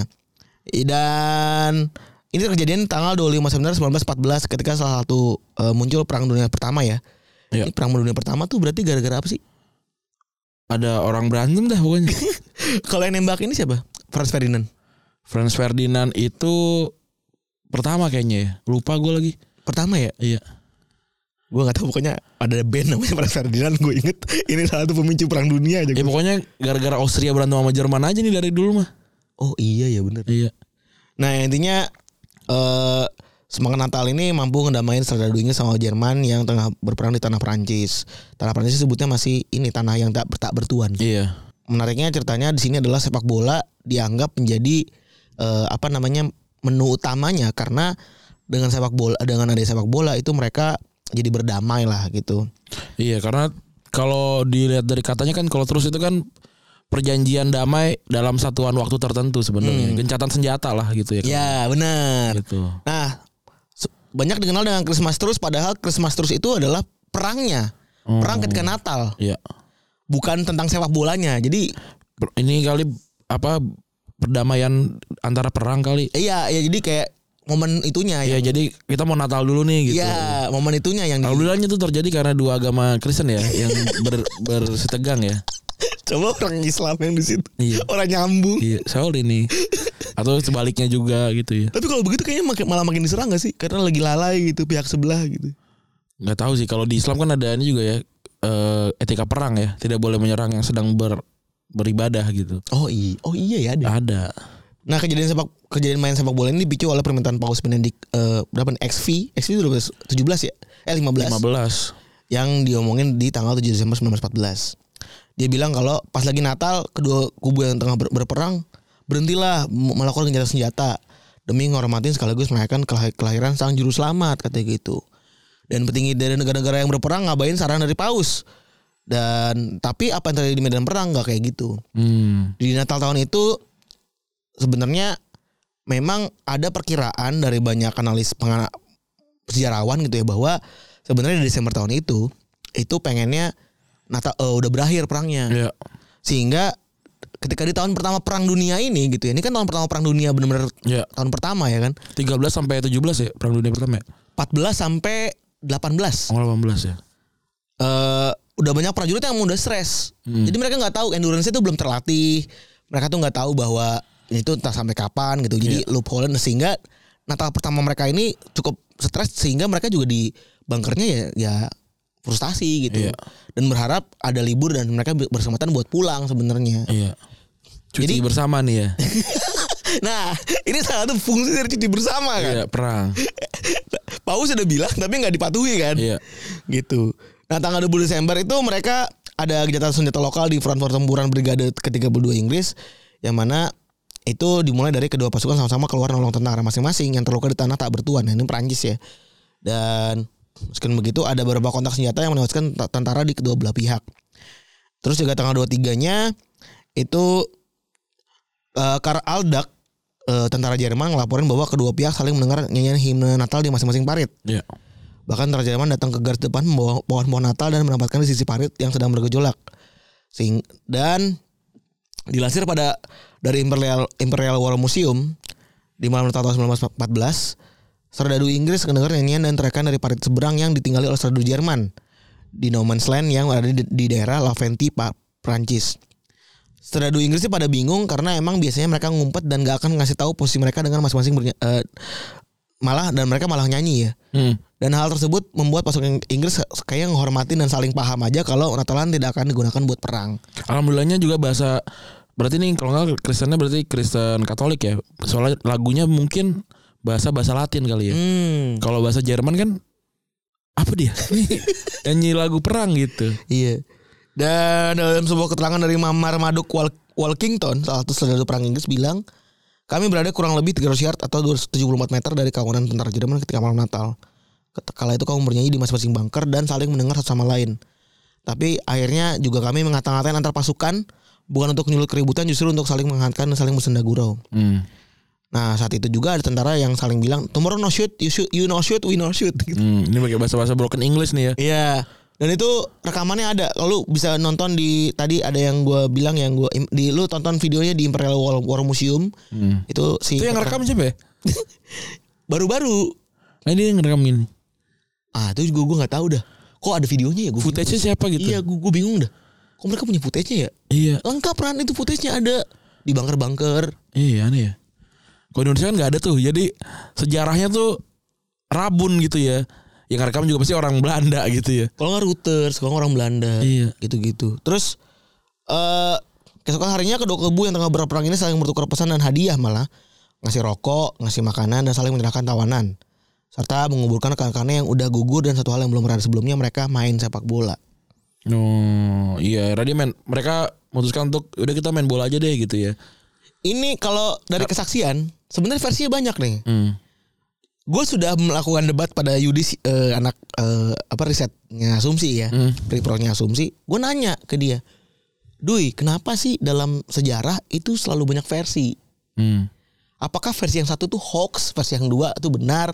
i- dan ini kejadian tanggal 25 September 1914 ketika salah satu eh, muncul perang dunia pertama ya. Ini Iya. perang dunia pertama tuh berarti gara-gara apa sih? Ada orang berantem dah pokoknya. Kalau yang nembak ini siapa? Franz Ferdinand. Franz Ferdinand itu pertama kayaknya ya. Lupa gue lagi. Pertama ya? Iya. Gue gak tahu pokoknya ada band namanya Franz Ferdinand gue inget ini salah satu pemicu perang dunia aja. Ya pokoknya gara-gara Austria berantem sama Jerman aja nih dari dulu mah. Oh iya ya bener. Iya. Nah intinya eh semangat Natal ini mampu ngedamain serdadu Inggris sama Jerman yang tengah berperang di tanah Perancis. Tanah Perancis disebutnya masih ini tanah yang tak, tak bertuan. Iya. Menariknya ceritanya di sini adalah sepak bola dianggap menjadi eh, apa namanya menu utamanya karena dengan sepak bola dengan ada sepak bola itu mereka jadi berdamai lah gitu. Iya karena kalau dilihat dari katanya kan kalau terus itu kan perjanjian damai dalam satuan waktu tertentu sebenarnya. Gencatan senjata lah gitu ya. Ya benar. Gitu. Nah, se- banyak dikenal dengan Christmas Truce padahal Christmas Truce itu adalah perangnya. Perang ketika Natal, Iya. bukan tentang sepak bolanya. Jadi Per- Ini kali apa perdamaian antara perang kali. iya ya jadi kayak momen itunya Ya yang- jadi kita mau Natal dulu nih gitu. Iya, momen itunya yang di- Alhamdulillahnya itu terjadi karena dua agama Kristen ya yang ber, bersitegang ya. coba orang Islam yang di situ. Iya. Orang nyambung. Iya, soal ini. Atau sebaliknya juga gitu ya. Tapi kalau begitu kayaknya makin, malah makin diserang gak sih? Karena lagi lalai gitu pihak sebelah gitu. nggak tahu sih kalau di Islam kan ada ini juga ya eh, etika perang ya tidak boleh menyerang yang sedang ber beribadah gitu Oh iya, oh iya ya ada. ada Nah kejadian sepak kejadian main sepak bola ini dipicu oleh permintaan Paus Benedict eh, berapa nih? XV, XV itu 17 ya? Eh 15. 15 yang diomongin di tanggal 7 Desember 1914. Dia bilang kalau pas lagi Natal kedua kubu yang tengah ber- berperang berhentilah m- melakukan gencatan senjata demi menghormatin sekaligus merayakan kelah- kelahiran sang juru selamat katanya gitu. Dan petinggi dari negara-negara yang berperang ngabain saran dari paus. Dan tapi apa yang terjadi di medan perang nggak kayak gitu. hmm. Di Natal tahun itu sebenarnya memang ada perkiraan dari banyak analis pengana- sejarawan gitu ya bahwa sebenarnya di Desember tahun itu itu pengennya Natal eh, udah berakhir perangnya ya sehingga ketika di tahun pertama perang dunia ini gitu ya ini kan tahun pertama perang dunia benar-benar ya tahun pertama ya kan 13 sampai 17 ya perang dunia pertama ya 14 sampai 18 eh Oh, 18 ya udah banyak prajurit yang udah stres Hmm. jadi mereka nggak tahu endurance itu belum terlatih mereka tuh nggak tahu bahwa itu entah sampai kapan gitu Iya. jadi loophole sehingga Natal pertama mereka ini cukup stres sehingga mereka juga di bunkernya ya ya frustasi gitu Iya. dan berharap ada libur dan mereka berkesempatan buat pulang sebenarnya iya Jadi- cuti bersama nih ya nah ini salah satu fungsi dari cuti bersama kan iya perang Paus sudah bilang tapi nggak dipatuhi kan iya gitu. Nah tanggal 20 Desember itu mereka ada kegiatan senjata lokal di front pertempuran Brigade ke-32 Inggris yang mana itu dimulai dari kedua pasukan sama-sama keluar nolong tentara masing-masing yang terluka di tanah tak bertuan. Nah, ini Perancis ya. Dan meskipun begitu ada beberapa kontak senjata yang menewaskan ta- tentara di kedua belah pihak. Terus juga tanggal 23-nya itu eh, Karl Aldag eh, tentara Jerman ngelaporin bahwa kedua pihak saling mendengar nyanyian himne Natal di masing-masing parit. iya Bahkan tentara Jerman datang ke garis depan membawa pohon-pohon Natal dan menempatkan di sisi parit yang sedang bergejolak. Sing dan dilansir pada dari Imperial Imperial War Museum di malam Natal tahun 1914, serdadu Inggris mendengar nyanyian dan teriakan dari parit seberang yang ditinggali oleh serdadu Jerman di No Man's Land yang ada di, di daerah Laventy, Pak Prancis. Serdadu Inggris sih pada bingung karena emang biasanya mereka ngumpet dan gak akan ngasih tahu posisi mereka dengan masing-masing bernya- eh, malah dan mereka malah nyanyi ya. hmm. Dan hal tersebut membuat pasukan Inggris kayak menghormati dan saling paham aja kalau Natalan tidak akan digunakan buat perang. alhamdulillahnya juga bahasa berarti nih kalau nggak Kristennya berarti Kristen Katolik ya soalnya lagunya mungkin bahasa bahasa Latin kali ya Hmm, kalau bahasa Jerman kan apa dia nyanyi lagu perang gitu iya. Dan eh, dalam sebuah keterangan dari Mamar Maduk Wal- Walkington, salah satu saudara perang Inggris bilang, kami berada kurang lebih 300 yard atau 274 meter dari kawanan tentara Jerman ketika malam Natal. Ket- Kala itu kamu bernyanyi di masing-masing bunker dan saling mendengar satu sama lain. Tapi akhirnya juga kami mengata-ngatain antar pasukan bukan untuk menyulut keributan justru untuk saling menghangatkan dan saling bersenda gurau. Hmm. Nah saat itu juga ada tentara yang saling bilang tomorrow no shoot, you shoot, you no shoot, we no shoot. Gitu. Hmm, ini pakai bahasa-bahasa broken English nih ya. Iya. Dan itu rekamannya ada. Lalu bisa nonton di tadi ada yang gua bilang yang gua di lu tonton videonya di Imperial War, War Museum. Hmm. Itu si Itu yang peternak- ngerekam siapa ya? baru-baru. Nah, ini yang ngerekam ini. Ah itu juga gua nggak tahu dah. Kok ada videonya ya gua? bingung. Footage-nya siapa gitu? Iya, gua, gua bingung dah. Kok mereka punya footage-nya ya? Iya, Lengkap kan itu footage-nya ada di bunker-bunker. iya aneh ya. Kalau Indonesia kan nggak ada tuh. Jadi sejarahnya tuh rabun gitu ya. Yang ngerekam juga pasti orang Belanda gitu ya. Kalau nggak routers, kalau nggak orang Belanda. Iya. gitu-gitu. Terus eh keesokan harinya kedua kubu yang tengah berperang ini saling bertukar pesan dan hadiah malah ngasih rokok, ngasih makanan dan saling menyerahkan tawanan serta menguburkan rekan-rekannya yang udah gugur dan satu hal yang belum pernah ada sebelumnya mereka main sepak bola. Oh, iya. Tadi men, mereka memutuskan untuk udah kita main bola aja deh gitu ya. Ini kalau dari kesaksian sebenarnya versinya banyak nih. Hmm. Gue sudah melakukan debat pada Yudis eh, anak eh, apa risetnya asumsi ya, Hmm. pre asumsi. Gue nanya ke dia, Dui, kenapa sih dalam sejarah itu selalu banyak versi? Hmm. Apakah versi yang satu tuh hoax, versi yang dua tuh benar,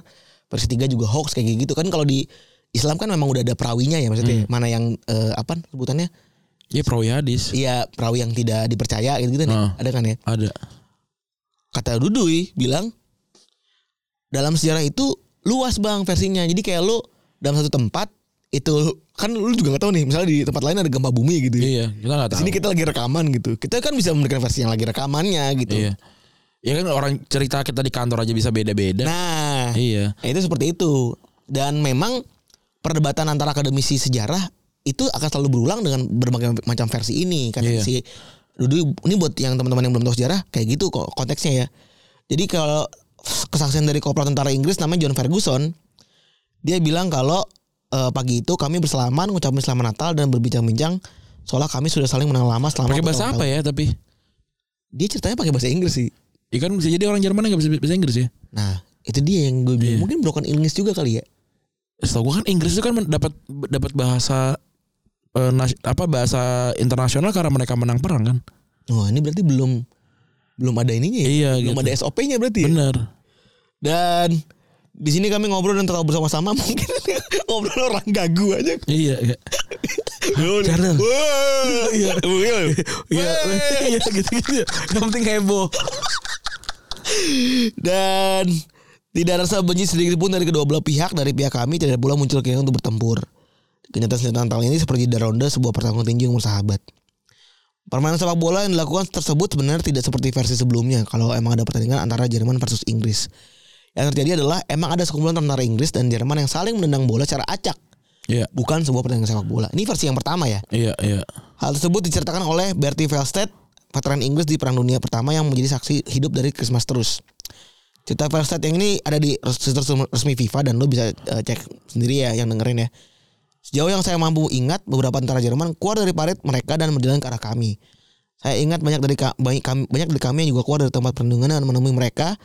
versi tiga juga hoax kayak gitu kan? Kalau di Islam kan memang udah ada perawinya ya maksudnya Hmm. mana yang eh, apa sebutannya? Iya proyadis. Iya perawi yang tidak dipercaya gitu gitu nih, Ah. ada kan ya? Ada. kata Dudui bilang dalam sejarah itu luas bang versinya jadi kayak lu dalam satu tempat itu kan lu juga nggak tahu nih misalnya di tempat lain ada gempa bumi gitu ya. Iya, kita nggak di tahu. sini kita lagi rekaman gitu kita kan bisa memberikan versi yang lagi rekamannya gitu Iya. Ya kan orang cerita kita di kantor aja bisa beda-beda. nah Iya. itu seperti itu dan memang perdebatan antara akademisi sejarah itu akan selalu berulang dengan berbagai macam versi ini kata Iya. si Dudu ini buat yang teman-teman yang belum tahu sejarah kayak gitu kok konteksnya ya jadi kalau kesaksian dari Kopra tentara Inggris namanya John Ferguson dia bilang kalau eh, pagi itu kami berselaman mengucapkan selamat Natal dan berbincang-bincang seolah kami sudah saling mengenal lama selama Pakai bahasa apa bertahun-tahun." ya tapi? dia ceritanya pakai bahasa Inggris sih Iya kan bisa jadi orang Jerman nggak bisa bahasa Inggris ya. nah itu dia yang gue Iya. bilang mungkin broken English juga kali ya Setahu gua kan Inggris itu kan men- dapat dapat bahasa eh, nas- apa bahasa internasional karena mereka menang perang kan. Wah ini berarti belum belum ada ininya ya. Iya, belum gitu. ada SOP-nya berarti. ya? Bener. Dan di sini kami ngobrol dan tertawa bersama-sama mungkin ngobrol orang gagu aja. Iya. iya. Charles. Wah. Iya, iya, iya, gitu-gitu. Yang penting heboh. Dan tidak ada rasa benci sedikit pun dari kedua belah pihak dari pihak kami tidak pula muncul keinginan untuk bertempur. Kenyataan senjata Natal ini seperti ronde sebuah pertarungan tinju yang bersahabat. Permainan sepak bola yang dilakukan tersebut sebenarnya tidak seperti versi sebelumnya kalau emang ada pertandingan antara Jerman versus Inggris. Yang terjadi adalah emang ada sekumpulan tentara Inggris dan Jerman yang saling menendang bola secara acak, Iya, bukan sebuah pertandingan sepak bola. Ini versi yang pertama ya. iya, iya. Hal tersebut diceritakan oleh Bertie Velstedt, veteran Inggris di Perang Dunia Pertama yang menjadi saksi hidup dari Christmas terus. Cerita Velstedt yang ini ada di res- situs resmi FIFA dan lo bisa eh, cek sendiri ya yang dengerin ya. Sejauh yang saya mampu ingat, beberapa tentara Jerman keluar dari parit mereka dan berjalan ke arah kami. Saya ingat banyak dari ka- banyak kami, banyak dari kami yang juga keluar dari tempat perlindungan dan menemui mereka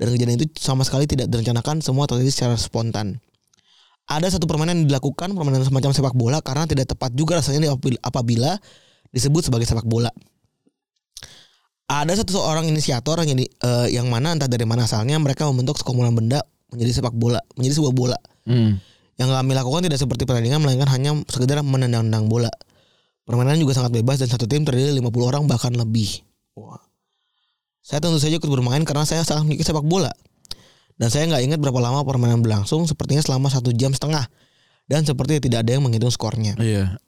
dan kejadian itu sama sekali tidak direncanakan, semua terjadi secara spontan ada satu permainan yang dilakukan permainan semacam sepak bola karena tidak tepat juga rasanya diapabil- apabila disebut sebagai sepak bola. Ada satu seorang inisiator yang jadi eh, yang mana entah dari mana asalnya mereka membentuk sekumpulan benda menjadi sepak bola, menjadi sebuah bola. Hmm. Yang kami lakukan tidak seperti pertandingan melainkan hanya sekedar menendang-tendang bola. Permainan juga sangat bebas dan satu tim terdiri dari 50 orang bahkan lebih. Wah. Saya tentu saja ikut bermain karena saya sangat menyukai sepak bola. Dan saya nggak ingat berapa lama permainan berlangsung, sepertinya selama satu jam setengah. Dan sepertinya tidak ada yang menghitung skornya. Iya.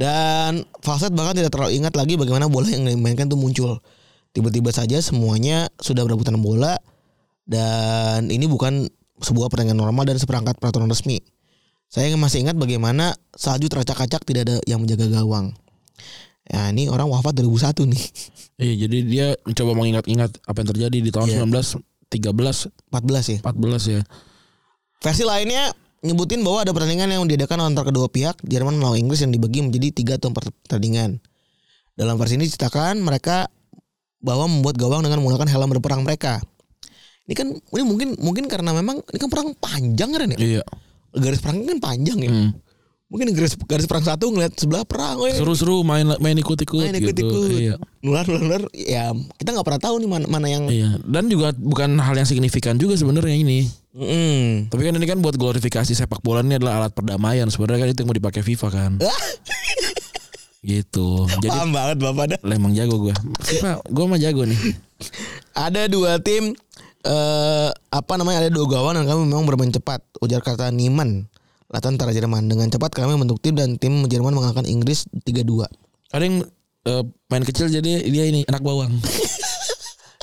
Dan Falset bahkan tidak terlalu ingat lagi bagaimana bola yang dimainkan itu muncul. Tiba-tiba saja semuanya sudah berebutan bola dan ini bukan sebuah pertandingan normal dan seperangkat peraturan resmi. Saya masih ingat bagaimana salju teracak-acak tidak ada yang menjaga gawang. Ya ini orang wafat 2001 nih. Iya, jadi dia mencoba mengingat-ingat apa yang terjadi di tahun Iya. 1913, 14 ya. 14 ya. Versi lainnya nyebutin bahwa ada pertandingan yang diadakan antara kedua pihak Jerman melawan Inggris yang dibagi menjadi tiga atau empat pertandingan. Dalam versi ini diceritakan mereka bahwa membuat gawang dengan menggunakan helm berperang mereka. Ini kan ini mungkin mungkin karena memang ini kan perang panjang kan ya. Iya. Garis perang kan panjang ya. Hmm. Mungkin garis garis perang satu ngeliat sebelah perang. oh weh. Seru-seru main main ikut-ikut Main gitu. ikut-ikut. Iya. Nular nular nular. Ya kita nggak pernah tahu nih mana mana yang. Iya, dan juga bukan hal yang signifikan juga sebenarnya ini. Mm. Tapi kan ini kan buat glorifikasi sepak bola ini adalah alat perdamaian. Sebenarnya kan itu yang mau dipakai FIFA kan. gitu. Jadi Paham banget bapak dah. lah emang jago gue. FIFA gue mah jago nih. ada dua tim eh apa namanya ada dua gawang dan kami memang bermain cepat ujar kata Niemann Latan antara Jerman dengan cepat kami membentuk tim dan tim Jerman mengalahkan Inggris 3-2 Ada yang eh, main kecil jadi dia ini anak bawang.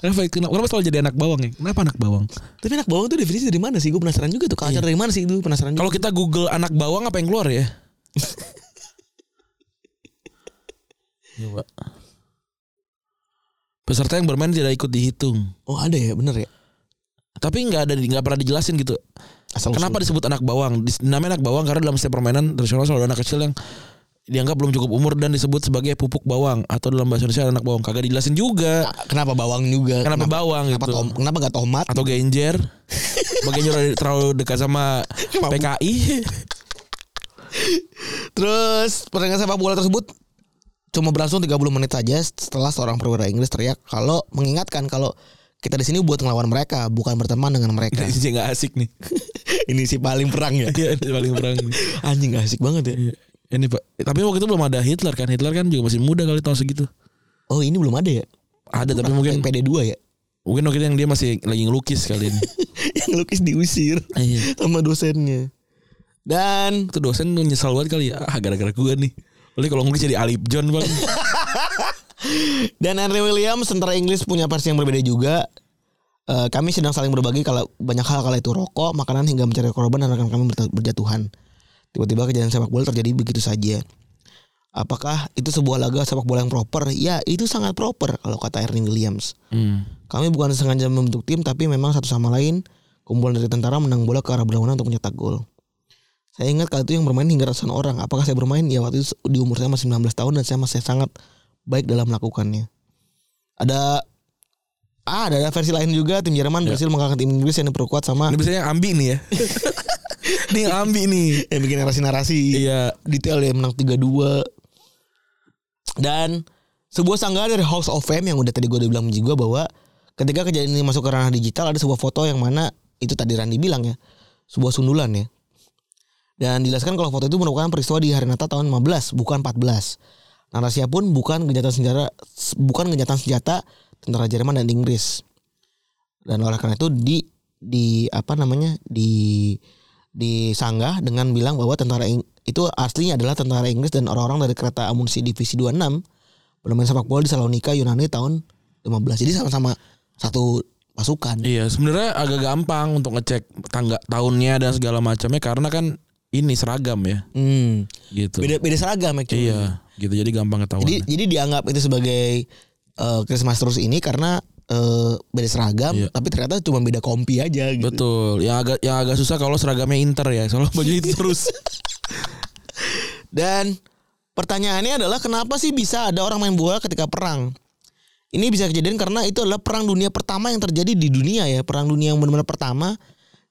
Kenapa, kenapa, kenapa selalu jadi anak bawang ya? Kenapa anak bawang? tapi anak bawang itu definisi dari mana sih gue penasaran juga tuh culture dari mana sih itu penasaran juga Kalau kita Google anak bawang apa yang keluar ya? Coba. Peserta yang bermain tidak ikut dihitung. oh ada ya bener ya Tapi nggak ada nggak pernah dijelasin gitu. asal Kenapa disebut anak bawang? Dis- Namanya anak bawang karena dalam setiap permainan tradisional selalu ada anak kecil yang dianggap belum cukup umur dan disebut sebagai pupuk bawang atau dalam bahasa Indonesia anak bawang. Kagak dijelasin juga. Ah, kenapa bawang juga Kenapa, bawang kenapa, gitu? tom, kenapa gak tomat atau genjer? Bagi yang terlalu dekat sama Mabuk. PKI. Terus pertandingan sepak bola tersebut cuma berlangsung 30 menit saja setelah seorang perwira Inggris teriak kalau mengingatkan kalau kita di sini buat ngelawan mereka, bukan berteman dengan mereka. Ini nggak asik nih. Ini sih paling perang ya. Nah. Iya, ini paling perang. Anjing asik banget ya. Iya. Ini Pak. Tapi waktu itu belum ada Hitler kan. Hitler kan juga masih muda kali tahun segitu. Oh, ini belum ada ya? Ada tapi mungkin PD2 ya. mungkin waktu itu yang dia masih lagi ngelukis kali ini. Yang lukis diusir Iya. sama dosennya. Dan Itu dosen tuh nyesal banget kali ya. Ah, gara-gara gue nih. Oleh kalau ngelukis jadi Alip John bang. Dan Henry Williams tentara Inggris punya versi yang berbeda juga. Eh, kami sedang saling berbagi kalau banyak hal kala itu rokok, makanan hingga mencari korban dan rekan kami berta- berjatuhan. Tiba-tiba kejadian sepak bola terjadi begitu saja. Apakah itu sebuah laga sepak bola yang proper? Ya, itu sangat proper kalau kata Henry Williams. Hmm. Kami bukan sengaja membentuk tim tapi memang satu sama lain kumpulan dari tentara menang bola ke arah berlawanan untuk mencetak gol. Saya ingat kali itu yang bermain hingga ratusan orang. Apakah saya bermain? Ya waktu itu di umur saya masih 19 tahun dan saya masih sangat baik dalam melakukannya. Ada ah, ada, ada versi lain juga tim Jerman berhasil mengalahkan tim Inggris yang diperkuat sama Ya. Ini biasanya yang ambi nih ya. ini yang ambi nih. yang bikin narasi-narasi Iya. detail ya menang 3-2. Dan sebuah sanggahan dari House of Fame yang udah tadi gue udah bilang juga bahwa ketika kejadian ini masuk ke ranah digital ada sebuah foto yang mana itu tadi Randi bilang ya sebuah sundulan ya. Dan dijelaskan kalau foto itu merupakan peristiwa di hari Natal tahun 15 bukan 14. Narasinya pun bukan gencatan senjata bukan gencatan senjata tentara Jerman dan Inggris. Dan oleh karena itu di di apa namanya di disanggah dengan bilang bahwa tentara Ing- itu aslinya adalah tentara Inggris dan orang-orang dari kereta amunisi divisi 26 bermain sepak bola di Salonika Yunani tahun 15. Jadi sama-sama satu pasukan. Iya, sebenarnya agak gampang untuk ngecek tangga tahunnya dan segala macamnya karena kan ini seragam ya, Hmm. gitu. Beda beda seragam actually. Iya, gitu. Jadi gampang ketahuan. Jadi jadi dianggap itu sebagai eh, Christmas terus ini karena eh, beda seragam Iya. tapi ternyata cuma beda kompi aja gitu. Betul. Yang agak yang agak susah kalau seragamnya Inter ya, soalnya baju itu terus. Dan pertanyaannya adalah kenapa sih bisa ada orang main bola ketika perang? Ini bisa kejadian karena itu adalah perang dunia pertama yang terjadi di dunia ya, perang dunia yang benar-benar pertama.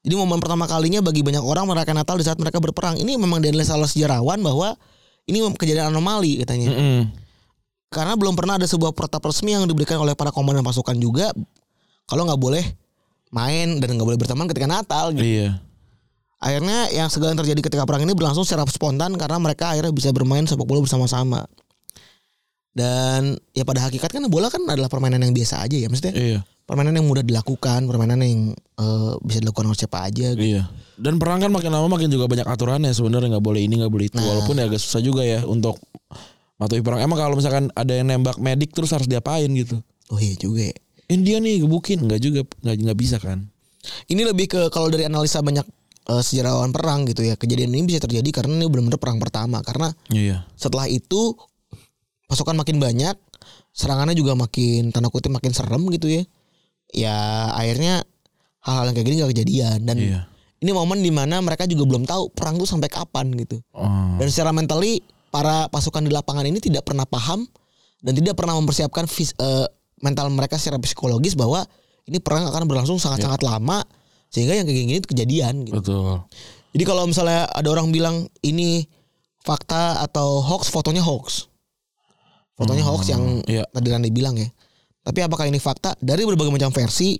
Jadi momen pertama kalinya bagi banyak orang merayakan Natal di saat mereka berperang. Ini memang dianalisa oleh sejarawan bahwa ini mem- kejadian anomali katanya Mm-mm. karena belum pernah ada sebuah protap resmi yang diberikan oleh para komandan pasukan juga kalau nggak boleh main dan nggak boleh berteman ketika Natal gitu. Iya. Akhirnya yang segala yang terjadi ketika perang ini berlangsung secara spontan karena mereka akhirnya bisa bermain sepak bola bersama-sama. Dan ya pada hakikat kan bola kan adalah permainan yang biasa aja ya maksudnya. Iya. Permainan yang mudah dilakukan, permainan yang eh, bisa dilakukan oleh siapa aja gitu. Iya. Dan perang kan makin lama makin juga banyak aturannya sebenarnya nggak boleh ini nggak boleh itu. Walaupun ya agak susah juga ya untuk matuhi perang. Emang kalau misalkan ada yang nembak medik terus harus diapain gitu? Oh iya juga ya. India nih gebukin nggak juga nggak nggak bisa kan? Ini lebih ke kalau dari analisa banyak eh, sejarawan perang gitu ya. Kejadian ini bisa terjadi karena ini benar-benar perang pertama karena Iya. Setelah itu pasukan makin banyak, serangannya juga makin tanda kutip makin serem gitu ya. Ya akhirnya hal-hal yang kayak gini gak kejadian dan Iya. ini momen dimana mereka juga belum tahu perang tuh sampai kapan gitu. Oh. Dan secara mentally para pasukan di lapangan ini tidak pernah paham dan tidak pernah mempersiapkan fis- eh, mental mereka secara psikologis bahwa ini perang akan berlangsung sangat-sangat lama sehingga yang kayak gini tuh kejadian gitu. Betul. Jadi kalau misalnya ada orang bilang ini fakta atau hoax, fotonya hoax. Fotonya hoax yang iya. tadi Randi bilang ya. Tapi apakah ini fakta? Dari berbagai macam versi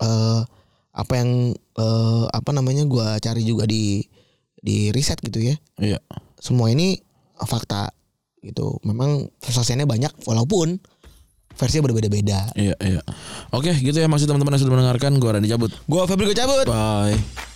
eh apa yang eh, apa namanya gua cari juga di di riset gitu ya. Iya. Semua ini fakta gitu. Memang sensasinya banyak walaupun versinya berbeda-beda. Iya, iya. Oke, gitu ya maksud teman-teman yang sudah mendengarkan. Gua Randy cabut. Gua Febri gue cabut. Bye.